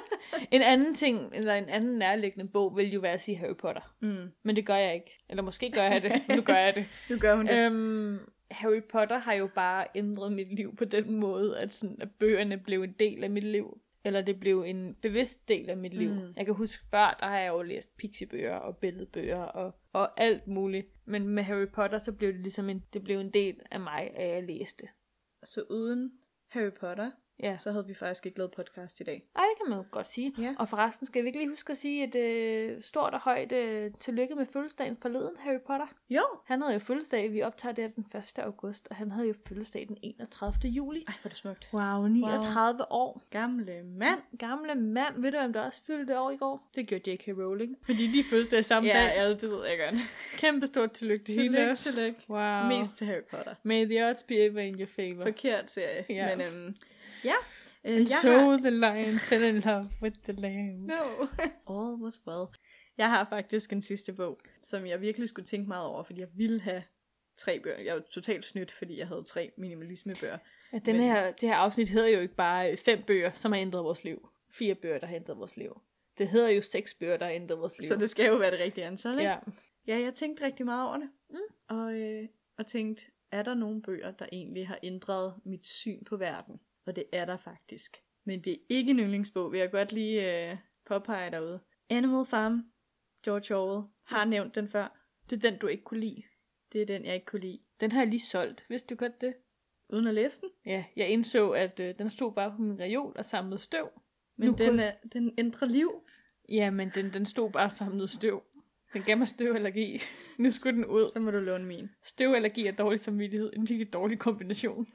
Speaker 3: en anden ting, eller en anden nærliggende bog, vil jo være at sige Harry Potter.
Speaker 2: Mm.
Speaker 3: Men det gør jeg ikke. Eller måske gør jeg det. men nu gør jeg det.
Speaker 2: Nu gør hun det.
Speaker 3: øhm, Harry Potter har jo bare ændret mit liv på den måde, at, sådan, at bøgerne blev en del af mit liv. Eller det blev en bevidst del af mit liv. Mm.
Speaker 2: Mm.
Speaker 3: Jeg kan huske før, der har jeg jo læst pixiebøger og billedbøger og, og alt muligt. Men med Harry Potter, så blev det ligesom en, det blev en del af mig, at jeg læste.
Speaker 2: Så uden Harry Potter,
Speaker 3: Ja.
Speaker 2: Så havde vi faktisk ikke lavet podcast i dag.
Speaker 3: Ej, det kan man jo godt sige.
Speaker 2: Ja.
Speaker 3: Og forresten skal vi ikke lige huske at sige et øh, stort og højt øh, tillykke med fødselsdagen forleden, Harry Potter.
Speaker 2: Jo.
Speaker 3: Han havde jo fødselsdag, vi optager det her den 1. august, og han havde jo fødselsdag den 31. juli.
Speaker 2: Ej, hvor er det smukt.
Speaker 3: Wow, 39 wow. år.
Speaker 2: Gamle mand.
Speaker 3: Gamle mand, ved du, hvem der også fyldte år i går? Det gjorde J.K. Rowling. Fordi de fødselsdag samme dag.
Speaker 2: ja, det ved jeg godt.
Speaker 3: Kæmpe stort tillykke til hende
Speaker 2: Tillykke,
Speaker 3: også.
Speaker 2: tillykke.
Speaker 3: Wow.
Speaker 2: Mest til Harry Potter.
Speaker 3: May the odds be ever in your favor.
Speaker 2: Forkert serie.
Speaker 3: Ja.
Speaker 2: Men øhm, ja. Øh,
Speaker 3: And
Speaker 2: jeg
Speaker 3: so
Speaker 2: har...
Speaker 3: the lion fell in love with the lamb.
Speaker 2: No. All was well. Jeg har faktisk en sidste bog, som jeg virkelig skulle tænke meget over, fordi jeg ville have tre bøger. Jeg var totalt snydt, fordi jeg havde tre minimalismebøger.
Speaker 3: Ja, den
Speaker 2: Men-
Speaker 3: her, det her afsnit hedder jo ikke bare øh, fem bøger, som har ændret vores liv. Fire bøger, der har ændret vores liv. Det hedder jo seks bøger, der har ændret vores liv.
Speaker 2: Så det skal jo være det rigtige antal, ikke?
Speaker 3: ja.
Speaker 2: Ja, jeg tænkte rigtig meget over det. Mm. Og, øh, og tænkte, er der nogle bøger, der egentlig har ændret mit syn på verden? Og det er der faktisk. Men det er ikke en yndlingsbog, vil jeg godt lige øh, påpege derude. Animal Farm, George Orwell, har nævnt den før.
Speaker 3: Det er den, du ikke kunne lide.
Speaker 2: Det er den, jeg ikke kunne lide.
Speaker 3: Den har jeg lige solgt. Vidste du godt det?
Speaker 2: Uden at læse den.
Speaker 3: Ja, jeg indså, at øh, den stod bare på min reol og samlede støv.
Speaker 2: Men
Speaker 3: Nu
Speaker 2: den,
Speaker 3: kunne-
Speaker 2: er, den ændrer liv.
Speaker 3: Ja, men den, den stod bare og samlede støv. Den gav mig støvallergi. Nu skulle den ud.
Speaker 2: Så må du låne min.
Speaker 3: Støvallergi og dårlig samvittighed. En virkelig dårlig kombination.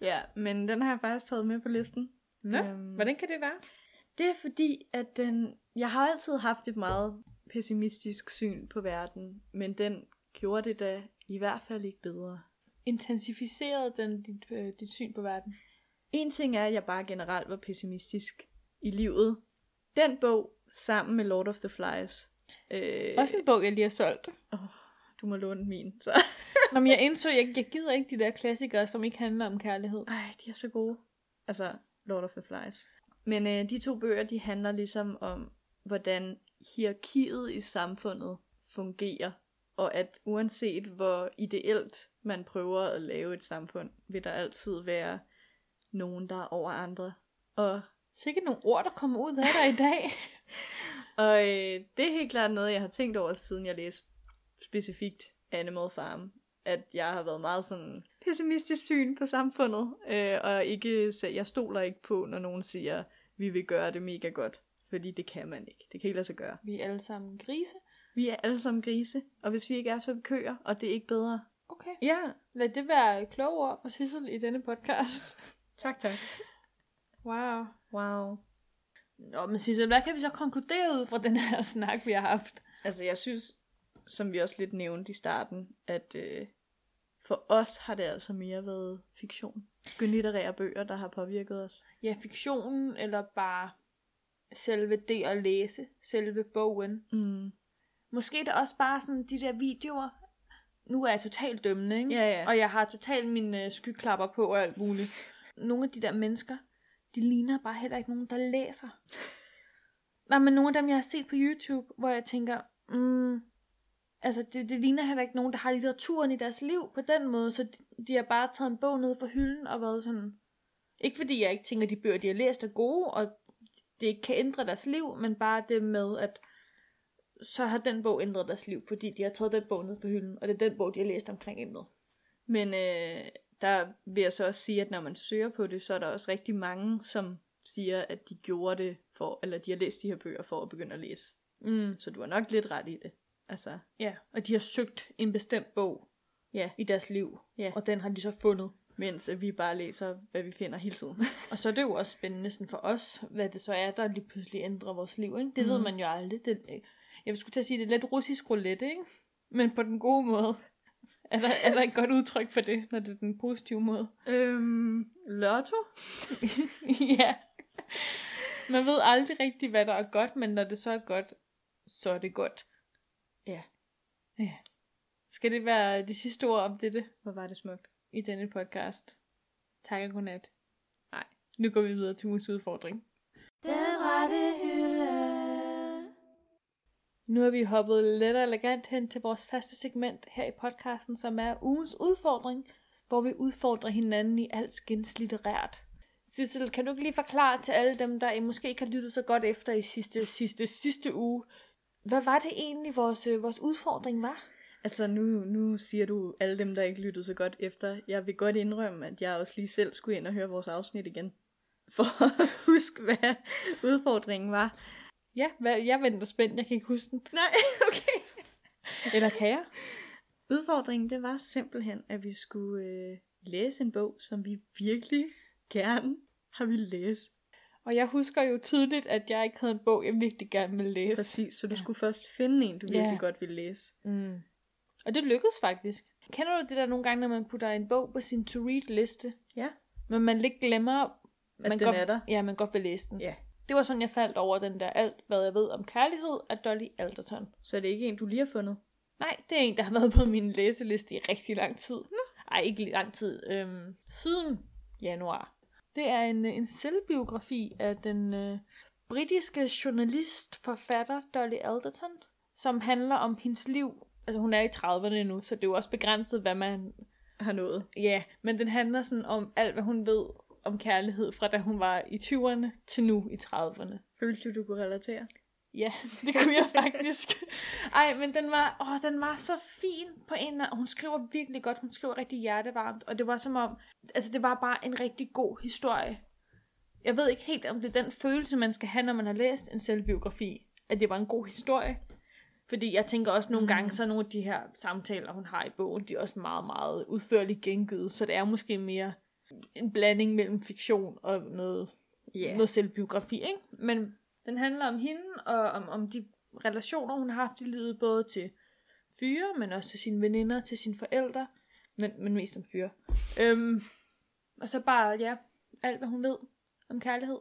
Speaker 2: Ja, men den har jeg faktisk taget med på listen.
Speaker 3: Nå,
Speaker 2: Øhm.
Speaker 3: hvordan kan det være?
Speaker 2: Det er fordi, at den... Jeg har altid haft et meget pessimistisk syn på verden, men den gjorde det da i hvert fald ikke bedre.
Speaker 3: Intensificerede den dit, øh, dit syn på verden?
Speaker 2: En ting er, at jeg bare generelt var pessimistisk i livet. Den bog, sammen med Lord of the Flies, øh,
Speaker 3: Også en bog, jeg lige har solgt.
Speaker 2: du må låne min. Så.
Speaker 3: Nå, men jeg indså, jeg, jeg gider ikke de der klassikere, som ikke handler om kærlighed.
Speaker 2: Ej, de er så gode. Altså, Lord of the Flies. Men øh, de to bøger, de handler ligesom om, hvordan hierarkiet i samfundet fungerer. Og at uanset hvor ideelt man prøver at lave et samfund, vil der altid være nogen, der er over andre. Og,
Speaker 3: Sikkert nogle ord, der kommer ud af dig i dag.
Speaker 2: og øh, det er helt klart noget, jeg har tænkt over, siden jeg læste specifikt Animal Farm. At jeg har været meget sådan pessimistisk syn på samfundet, øh, og ikke, så jeg stoler ikke på, når nogen siger, vi vil gøre det mega godt. Fordi det kan man ikke. Det kan ikke lade sig gøre.
Speaker 3: Vi er alle sammen grise.
Speaker 2: Vi er alle sammen grise, og hvis vi ikke er, så er vi køer, og det er ikke bedre.
Speaker 3: Okay.
Speaker 2: Ja,
Speaker 3: Lad det være kloge ord fra Sissel i denne podcast.
Speaker 2: tak, tak.
Speaker 3: Wow.
Speaker 2: Wow.
Speaker 3: Nå, men Sissel, hvad kan vi så konkludere ud fra den her snak, vi har haft?
Speaker 2: Altså, jeg synes, som vi også lidt nævnte i starten, at øh, for os har det altså mere været fiktion. Skønlitterære bøger, der har påvirket os.
Speaker 3: Ja, fiktionen, eller bare selve det at læse, selve bogen.
Speaker 2: Mm.
Speaker 3: Måske er det også bare sådan de der videoer. Nu er jeg totalt dømmende, ikke?
Speaker 2: Ja, ja.
Speaker 3: Og jeg har totalt mine øh, skyklapper på og alt muligt. Nogle af de der mennesker, de ligner bare heller ikke nogen, der læser. Nej, men nogle af dem, jeg har set på YouTube, hvor jeg tænker, mm, altså det, det ligner heller ikke nogen, der har litteraturen i deres liv på den måde, så de, de har bare taget en bog ned fra hylden og været sådan, ikke fordi jeg ikke tænker, at de bøger, de har læst, er gode, og det ikke kan ændre deres liv, men bare det med, at så har den bog ændret deres liv, fordi de har taget den bog ned fra hylden, og det er den bog, de har læst omkring emnet.
Speaker 2: Men øh, der vil jeg så også sige, at når man søger på det, så er der også rigtig mange, som siger, at de gjorde det for, eller de har læst de her bøger for at begynde at læse.
Speaker 3: Mm.
Speaker 2: Så du har nok lidt ret i det. Altså,
Speaker 3: Ja, og de har søgt en bestemt bog
Speaker 2: ja.
Speaker 3: i deres liv,
Speaker 2: Ja.
Speaker 3: og den har de så fundet.
Speaker 2: Mens at vi bare læser, hvad vi finder hele tiden.
Speaker 3: Og så er det jo også spændende sådan for os, hvad det så er, der lige pludselig ændrer vores liv. Ikke? Det mm. ved man jo aldrig. Det, jeg skulle til at sige, det er lidt russisk roulette, ikke? men på den gode måde. Er der, er der et godt udtryk for det, når det er den positive måde?
Speaker 2: øhm, lotto?
Speaker 3: ja. Man ved aldrig rigtigt, hvad der er godt, men når det så er godt, så er det godt.
Speaker 2: Ja.
Speaker 3: ja. Skal det være de sidste ord om dette?
Speaker 2: Hvor var det smukt.
Speaker 3: i denne podcast. Tak og godnat.
Speaker 2: Nej.
Speaker 3: Nu går vi videre til ugens udfordring.
Speaker 1: Den rette hylde.
Speaker 3: Nu er vi hoppet let og elegant hen til vores faste segment her i podcasten, som er ugens udfordring, hvor vi udfordrer hinanden i alt skins litterært. Sissel, kan du ikke lige forklare til alle dem, der måske ikke har lyttet så godt efter i sidste, sidste, sidste uge, hvad var det egentlig, vores, øh, vores udfordring var?
Speaker 2: Altså nu, nu siger du alle dem, der ikke lyttede så godt efter. Jeg vil godt indrømme, at jeg også lige selv skulle ind og høre vores afsnit igen. For at huske, hvad udfordringen var.
Speaker 3: Ja, hvad, jeg venter spændt. Jeg kan ikke huske den.
Speaker 2: Nej, okay.
Speaker 3: Eller kan jeg?
Speaker 2: Udfordringen, det var simpelthen, at vi skulle øh, læse en bog, som vi virkelig gerne har ville læse.
Speaker 3: Og jeg husker jo tydeligt, at jeg ikke havde en bog, jeg virkelig gerne ville læse.
Speaker 2: Præcis, så du ja. skulle først finde en, du virkelig
Speaker 3: Ja.
Speaker 2: godt ville læse.
Speaker 3: Mm. Og det lykkedes faktisk. Kender du det der nogle gange, når man putter en bog på sin to-read-liste,
Speaker 2: Ja.
Speaker 3: men man lidt glemmer, at man
Speaker 2: den
Speaker 3: godt,
Speaker 2: er der?
Speaker 3: Ja, man godt vil læse den.
Speaker 2: Ja.
Speaker 3: Det var sådan, jeg faldt over den der alt, hvad jeg ved om kærlighed af Dolly Alderton.
Speaker 2: Så det er ikke en, du lige har fundet.
Speaker 3: Nej, det er en, der har været på min læseliste i rigtig lang tid. Ej, ikke lang tid. Øhm, siden januar. Det er en, øh, en selvbiografi af den øh, britiske journalist-forfatter Dolly Alderton, som handler om hendes liv. Altså, hun er i 30'erne nu, så det er jo også begrænset, hvad man...
Speaker 2: Har nået.
Speaker 3: Ja, men den handler sådan om alt, hvad hun ved om kærlighed, fra da hun var i 20'erne til nu i 30'erne.
Speaker 2: Følte du, du kunne relatere?
Speaker 3: Ja, det kunne jeg faktisk. Ej, men den var, åh, den var så fin på en og hun skriver virkelig godt, hun skriver rigtig hjertevarmt, og det var som om, altså det var bare en rigtig god historie. Jeg ved ikke helt, om det er den følelse, man skal have, når man har læst en selvbiografi, at det var en god historie. Fordi jeg tænker også nogle gange, så er nogle af de her samtaler, hun har i bogen, de er også meget, meget udførligt gengivet, så det er måske mere en blanding mellem fiktion og noget yeah. noget selvbiografi, ikke? Men den handler om hende og om, om de relationer, hun har haft i livet, både til fyre, men også til sine veninder, til sine forældre, men, men mest som fyre. Øhm, og så bare, ja, alt hvad hun ved om kærlighed.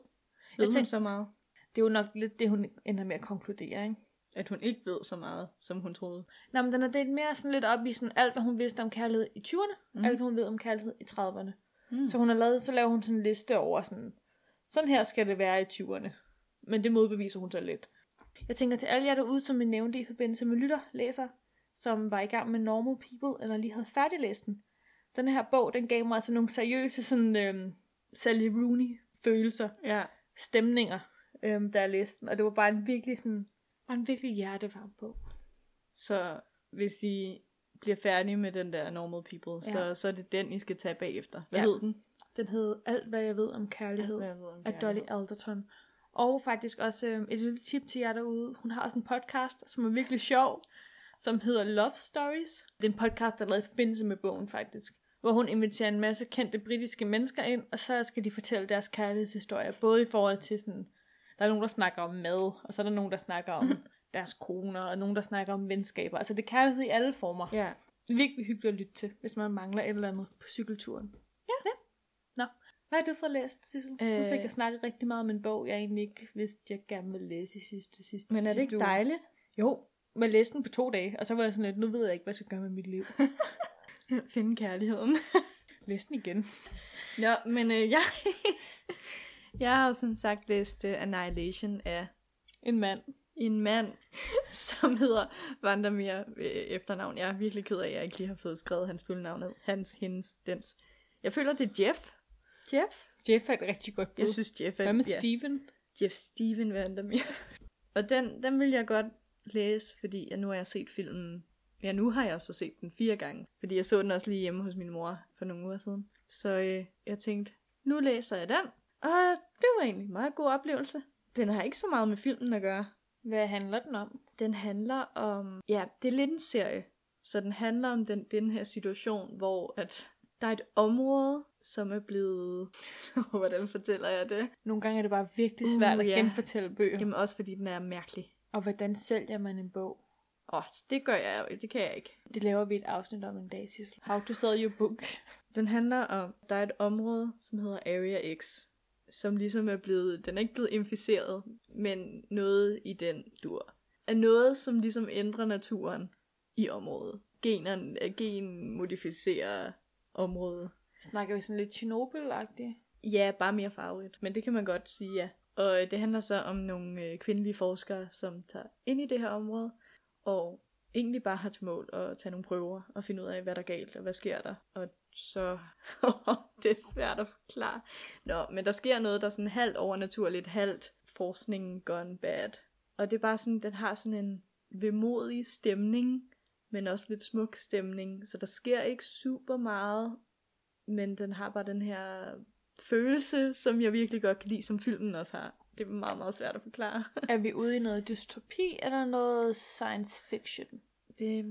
Speaker 3: Jeg
Speaker 2: Ved hun
Speaker 3: tænk-
Speaker 2: så meget,
Speaker 3: Det er jo nok lidt det, hun ender med at konkludere, ikke?
Speaker 2: at hun ikke ved så meget, som hun troede.
Speaker 3: Nå, men den er delt mere sådan lidt op i sådan alt, hvad hun vidste om kærlighed i 20'erne, mm. alt, hvad hun ved om kærlighed i 30'erne. Mm. Så hun har lavet, så laver hun sådan en liste over sådan, sådan her skal det være i 20'erne. Men det modbeviser hun så lidt. Jeg tænker til alle jer derude, som vi nævnte i forbindelse med lytter, læser, som var i gang med Normal People, eller lige havde færdiglæst den. Den her bog, den gav mig altså nogle seriøse sådan, øhm, Sally Rooney-følelser
Speaker 2: Ja.
Speaker 3: stemninger, øhm, da jeg læste den. Og det var bare en virkelig sådan, bare en virkelig hjertevarm bog.
Speaker 2: Så hvis I bliver færdige med den der Normal People, ja. så, så er det den, I skal tage bagefter. Hvad
Speaker 3: Ja.
Speaker 2: ja. hed den?
Speaker 3: Den hed Alt, hvad jeg ved om kærlighed
Speaker 2: Alt, hvad jeg ved om
Speaker 3: af Dolly Alderton. Og faktisk også øh, et lille tip til jer derude. Hun har også en podcast, som er virkelig sjov, som hedder Love Stories. Det er en podcast, der er lavet i forbindelse med bogen faktisk. Hvor hun inviterer en masse kendte britiske mennesker ind, og så skal de fortælle deres kærlighedshistorier. Både i forhold til sådan, der er nogen, der snakker om mad, og så er der nogen, der snakker om deres koner, og nogen, der snakker om venskaber. Altså det er kærlighed i alle former
Speaker 2: Ja.
Speaker 3: virkelig hyggeligt at lytte til, hvis man mangler et eller andet på cykelturen. Ja. ja. Nå, hvad har du fået læst, Sissel? Øh... Nu
Speaker 2: Øh.
Speaker 3: fik jeg snakket rigtig meget om en bog, jeg egentlig ikke vidste, jeg gerne ville læse i sidste, sidste,
Speaker 2: Men er det
Speaker 3: sidste
Speaker 2: ikke
Speaker 3: uge.
Speaker 2: dejligt?
Speaker 3: Jo, men jeg læste den på to dage, og så var jeg sådan lidt, nu ved jeg ikke, hvad jeg skal gøre med mit liv.
Speaker 2: Finde kærligheden.
Speaker 3: Læs den igen.
Speaker 2: Nå, men øh, jeg... jeg har jo som sagt læst uh, Annihilation af
Speaker 3: En mand.
Speaker 2: en mand, som hedder Vandermeer øh, efternavn. Jeg er virkelig ked af, at jeg ikke lige har fået skrevet hans fulde navn ned. Hans, hendes, dens. Jeg føler, det er Jeff. Jeff?
Speaker 3: Jeff er et rigtig godt bud.
Speaker 2: Jeg synes, Jeff er...
Speaker 3: hvad med
Speaker 2: ja.
Speaker 3: Steven?
Speaker 2: Jeff Steven Vandermeer. Og den, den vil jeg godt læse, fordi jeg, nu har jeg set filmen... Ja, nu har jeg så set den fire gange, fordi jeg så den også lige hjemme hos min mor for nogle uger siden. Så øh, jeg tænkte, nu læser jeg den, og det var egentlig en meget god oplevelse. Den har ikke så meget med filmen at gøre.
Speaker 3: Hvad handler den om?
Speaker 2: Den handler om... Ja, det er lidt en serie. Så den handler om den, den her situation, hvor at der er et område, som er blevet... Hvordan fortæller jeg det?
Speaker 3: Nogle gange er det bare virkelig svært uh,
Speaker 2: Uh,
Speaker 3: at
Speaker 2: ja.
Speaker 3: genfortælle bøger. Jamen.
Speaker 2: Jamen også fordi den er mærkelig.
Speaker 3: Og hvordan sælger man en bog?
Speaker 2: Åh, oh, det gør jeg jo. Det kan jeg ikke.
Speaker 3: Det laver vi et afsnit om en dag, Sissel. How to sell your book.
Speaker 2: Den handler om, der er et område, som hedder Area X, som ligesom er blevet, den er ikke blevet inficeret, men noget i den dur. Er noget, som ligesom ændrer naturen i området. Generne, øh, gen modificerer området.
Speaker 3: Snakker vi sådan lidt Chernobyl-agtigt?
Speaker 2: Ja, bare mere farverigt. Men det kan man godt sige, ja. Og øh, det handler så om nogle øh, kvindelige forskere, som tager ind i det her område, og egentlig bare har til mål at tage nogle prøver og finde ud af, hvad der er galt, og hvad sker der. Og så... det er svært at forklare. Nå, men der sker noget, der er sådan halvt overnaturligt, halvt forskningen gone bad. Og det er bare sådan, den har sådan en vemodig stemning, men også lidt smuk stemning. Så der sker ikke super meget, men den har bare den her følelse, som jeg virkelig godt kan lide, som filmen også har. Det er meget, meget svært at forklare.
Speaker 1: Er vi ude i noget dystopi, eller noget science fiction?
Speaker 2: det er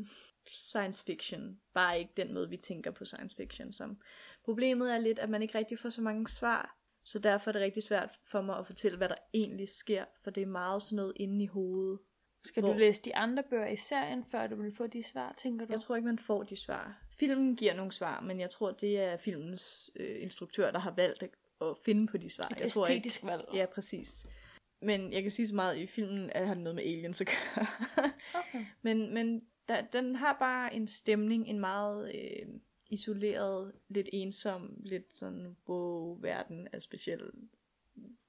Speaker 2: science fiction. Bare ikke den måde, vi tænker på science fiction som. Problemet er lidt, at man ikke rigtig får så mange svar. Så derfor er det rigtig svært for mig at fortælle, hvad der egentlig sker. For det er meget sådan noget inde i hovedet.
Speaker 1: Skal Hvor?
Speaker 2: Hvor-
Speaker 1: du læse de andre bøger i serien, før du vil få de svar, tænker du?
Speaker 2: Jeg tror ikke, man får de svar. Filmen giver nogle svar, men jeg tror, det er filmens øh, instruktør, der har valgt at at finde på de svar.
Speaker 1: Et
Speaker 2: jeg tror ikke,
Speaker 1: æstetisk valg.
Speaker 2: Ja, præcis. Men jeg kan sige så meget, at i filmen at har den noget med aliens at gøre.
Speaker 1: Okay.
Speaker 2: men men der, den har bare en stemning, en meget øh, isoleret, lidt ensom, lidt sådan, wow, verden er speciel.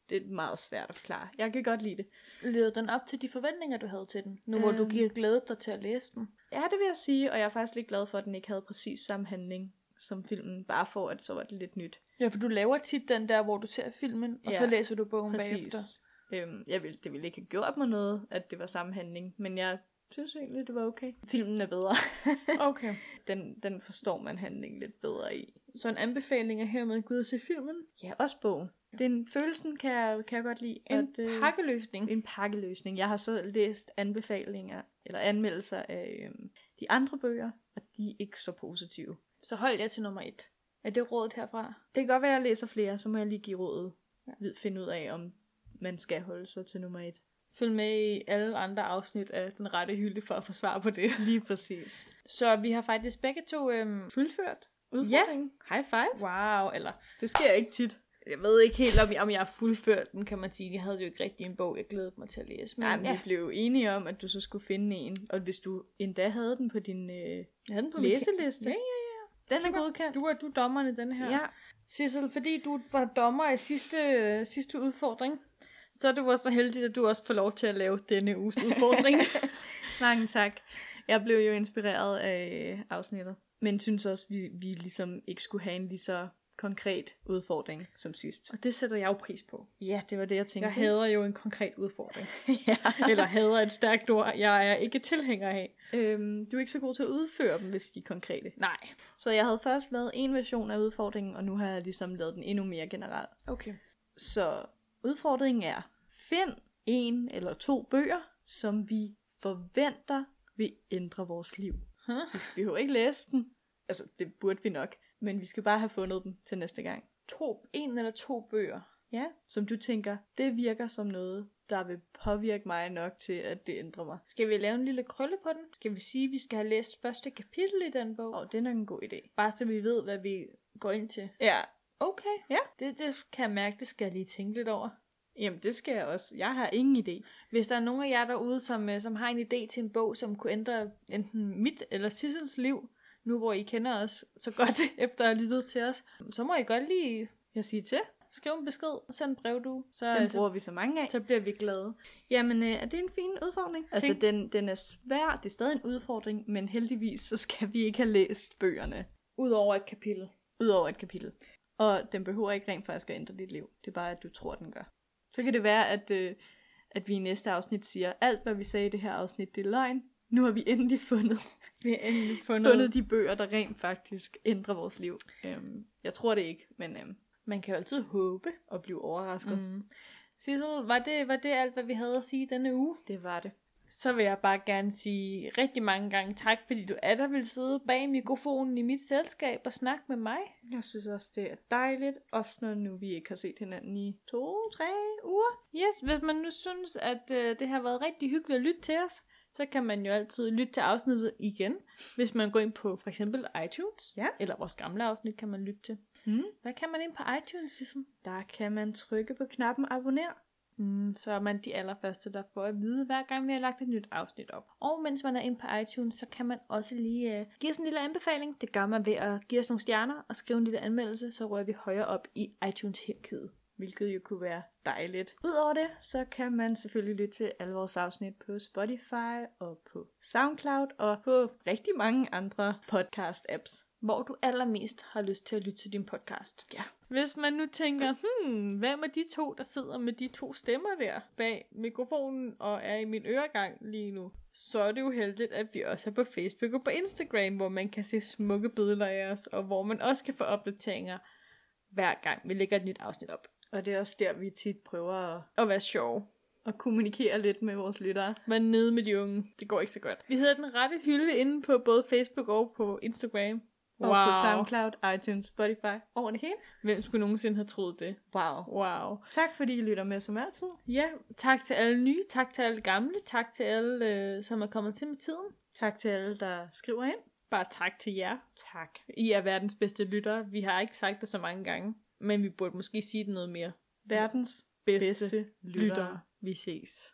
Speaker 2: Det er meget svært at forklare. Jeg kan godt lide det.
Speaker 1: Leder den op til de forventninger, du havde til den? Nu hvor du
Speaker 2: Øhm.
Speaker 1: giver glæde dig til at læse den.
Speaker 2: Ja, det vil jeg sige, og jeg er faktisk lidt glad for, at den ikke havde præcis samme handling som filmen, bare for at så var det lidt nyt.
Speaker 1: Ja, for du laver tit den der, hvor du ser filmen, og så
Speaker 2: Ja,
Speaker 1: læser du bogen bagefter.
Speaker 2: Præcis. Øhm, jeg ville, det ville ikke have gjort mig noget, at det var samme handling, men jeg synes egentlig, det var okay. Filmen er bedre.
Speaker 3: Okay.
Speaker 2: den, den forstår man handlingen lidt bedre i.
Speaker 3: Så en anbefaling er hermed givet til filmen.
Speaker 2: Ja, også bogen. Den følelsen kan jeg, kan jeg godt lide.
Speaker 1: En
Speaker 2: øh,
Speaker 1: pakkeløsning.
Speaker 2: en pakkeløsning. Jeg har så læst anbefalinger, eller anmeldelser af øhm, de andre bøger, og de er ikke så positive.
Speaker 1: Så hold jeg til nummer et. Er det rådet herfra?
Speaker 2: Det kan godt være, at jeg læser flere, så må jeg lige give rådet. Ja. Finde ud af, om man skal holde sig til nummer et.
Speaker 3: Følg med i alle andre afsnit af Den Rette Hylde for at få svar på det.
Speaker 2: Lige præcis.
Speaker 3: Så vi har faktisk begge to... Øhm,
Speaker 2: Fuldført. Udfordring. Ja. High five.
Speaker 3: wow, eller...
Speaker 2: Det sker ikke tit.
Speaker 3: Jeg ved ikke helt, om jeg, om jeg har fuldført den, kan man sige. Jeg havde jo ikke rigtig en bog, jeg glædede mig til at læse. Men
Speaker 2: Nej, men ja.
Speaker 3: ja,
Speaker 2: vi blev enige om, at du så skulle finde en. Og hvis du endda havde den på din øh,
Speaker 3: jeg havde den på min
Speaker 2: læseliste.
Speaker 3: Ja,
Speaker 2: Den
Speaker 3: Super.
Speaker 2: er godkendt.
Speaker 3: Du er du er dommeren i den her.
Speaker 2: Ja.
Speaker 3: Sissel, fordi du var dommer i sidste, øh, sidste udfordring, så er du også så heldig, at du også får lov til at lave denne uges udfordring.
Speaker 2: Mange tak. Jeg blev jo inspireret af øh, afsnittet, men synes også, vi, vi ligesom ikke skulle have en lige så konkret udfordring som sidst.
Speaker 3: og det sætter jeg jo pris på.
Speaker 2: Ja, det var det, jeg tænkte.
Speaker 3: Jeg hader jo en konkret udfordring.
Speaker 2: ja.
Speaker 3: Eller hader et stærkt ord, jeg er ikke tilhænger af.
Speaker 2: øhm, du er ikke så god til at udføre dem, hvis de er konkrete.
Speaker 3: Nej.
Speaker 2: Så jeg havde først lavet en version af udfordringen, og nu har jeg ligesom lavet den endnu mere generelt.
Speaker 3: Okay.
Speaker 2: Så udfordringen er, find en eller to bøger, som vi forventer vil ændre vores liv.
Speaker 3: Huh?
Speaker 2: Vi behøver ikke læse den. Altså, det burde vi nok. Men vi skal bare have fundet den til næste gang.
Speaker 3: To, en eller to bøger.
Speaker 2: Ja. Som du tænker, det virker som noget, der vil påvirke mig nok til, at det ændrer mig.
Speaker 3: Skal vi lave en lille krølle på den? Skal vi sige, at vi skal have læst første kapitel i den bog?
Speaker 2: Og det er nok en god idé.
Speaker 3: Bare så vi ved, hvad vi går ind til.
Speaker 2: Ja.
Speaker 3: Okay.
Speaker 2: Ja.
Speaker 3: Det, det kan jeg mærke, det skal jeg lige tænke lidt over.
Speaker 2: Jamen, det skal jeg også. Jeg har ingen idé.
Speaker 3: Hvis der er nogen af jer derude, som, øh, som har en idé til en bog, som kunne ændre enten mit eller Sissels liv, nu hvor I kender os så godt efter at have lyttet til os, så må I godt lige
Speaker 2: Jeg siger til.
Speaker 3: skrive en besked, send en brev, du. Så,
Speaker 2: Den
Speaker 3: øh, så,
Speaker 2: bruger vi så mange af.
Speaker 3: så bliver vi glade.
Speaker 2: Jamen, øh, er det en fin udfordring? Altså,
Speaker 3: Tænk-
Speaker 2: den, den er svær. Det er stadig en udfordring, men heldigvis så skal vi ikke have læst bøgerne.
Speaker 3: Udover et kapitel.
Speaker 2: Udover et kapitel. Og den behøver ikke rent faktisk at ændre dit liv. Det er bare, at du tror, den gør. Så kan det være, at, øh, at vi i næste afsnit siger, alt hvad vi sagde i det her afsnit, det er løgn. Nu har vi endelig fundet,
Speaker 3: Vi har endelig fundet.
Speaker 2: fundet de bøger, der rent faktisk ændrer vores liv. Øhm, jeg tror det ikke, men øhm,
Speaker 3: Man kan jo altid håbe.
Speaker 2: at blive overrasket, mm.
Speaker 3: Mm. Sissel, var det, var det alt, hvad vi havde at sige denne uge?
Speaker 2: det var det.
Speaker 3: Så vil jeg bare gerne sige rigtig mange gange tak, fordi du er der vil sidde bag mikrofonen i mit selskab og snakke med mig.
Speaker 2: Jeg synes også, det er dejligt, også når nu vi ikke har set hinanden i to, tre uger.
Speaker 3: Yes, hvis man nu synes, at øh, det har været rigtig hyggeligt at lytte til os, så kan man jo altid lytte til afsnittet igen, hvis man går ind på for eksempel iTunes,
Speaker 2: Ja.
Speaker 3: eller vores gamle afsnit kan man lytte til.
Speaker 2: Mm.
Speaker 3: Hvad kan man ind på iTunes, Sissel?
Speaker 2: Der kan man trykke på knappen abonner.
Speaker 3: Mm, så er man de allerførste, der får at vide, hver gang vi har lagt et nyt afsnit op. Og mens man er inde på iTunes, så kan man også lige øh, give os en lille anbefaling. Det gør man ved at give os nogle stjerner og skrive en lille anmeldelse, så rører vi højere op i iTunes-hierarkiet.
Speaker 2: hvilket jo kunne være dejligt. Udover det, så kan man selvfølgelig lytte til alle vores afsnit på Spotify og på SoundCloud og på rigtig mange andre podcast-apps.
Speaker 3: hvor du allermest har lyst til at lytte til din podcast.
Speaker 2: Ja.
Speaker 3: Hvis man nu tænker, hmm, hvem er de to, der sidder med de to stemmer der bag mikrofonen og er i min øregang lige nu? så er det jo heldigt, at vi også er på Facebook og på Instagram, hvor man kan se smukke billeder af os, og hvor man også kan få opdateringer, hver gang vi lægger et nyt afsnit op.
Speaker 2: Og det er også der, vi tit prøver at,
Speaker 3: Og være sjov.
Speaker 2: at kommunikere lidt med vores lyttere.
Speaker 3: Være nede med de unge. Det går ikke så godt. Vi hedder Den Rette Hylde inde på både Facebook og på Instagram.
Speaker 2: Wow. Og på SoundCloud, iTunes, Spotify, over det hele.
Speaker 3: Hvem skulle nogensinde have troet det?
Speaker 2: Wow.
Speaker 3: Wow.
Speaker 2: Tak fordi I lytter med som altid.
Speaker 3: Ja, tak til alle nye, tak til alle gamle, tak til alle, øh, som er kommet til med tiden.
Speaker 2: Tak til alle, der skriver ind.
Speaker 3: Bare tak til jer.
Speaker 2: Tak.
Speaker 3: I er verdens bedste lyttere. Vi har ikke sagt det så mange gange, men vi burde måske sige det noget mere.
Speaker 2: Verdens
Speaker 3: Bedste,
Speaker 2: bedste
Speaker 3: lyttere.
Speaker 2: lyttere.
Speaker 3: Vi ses.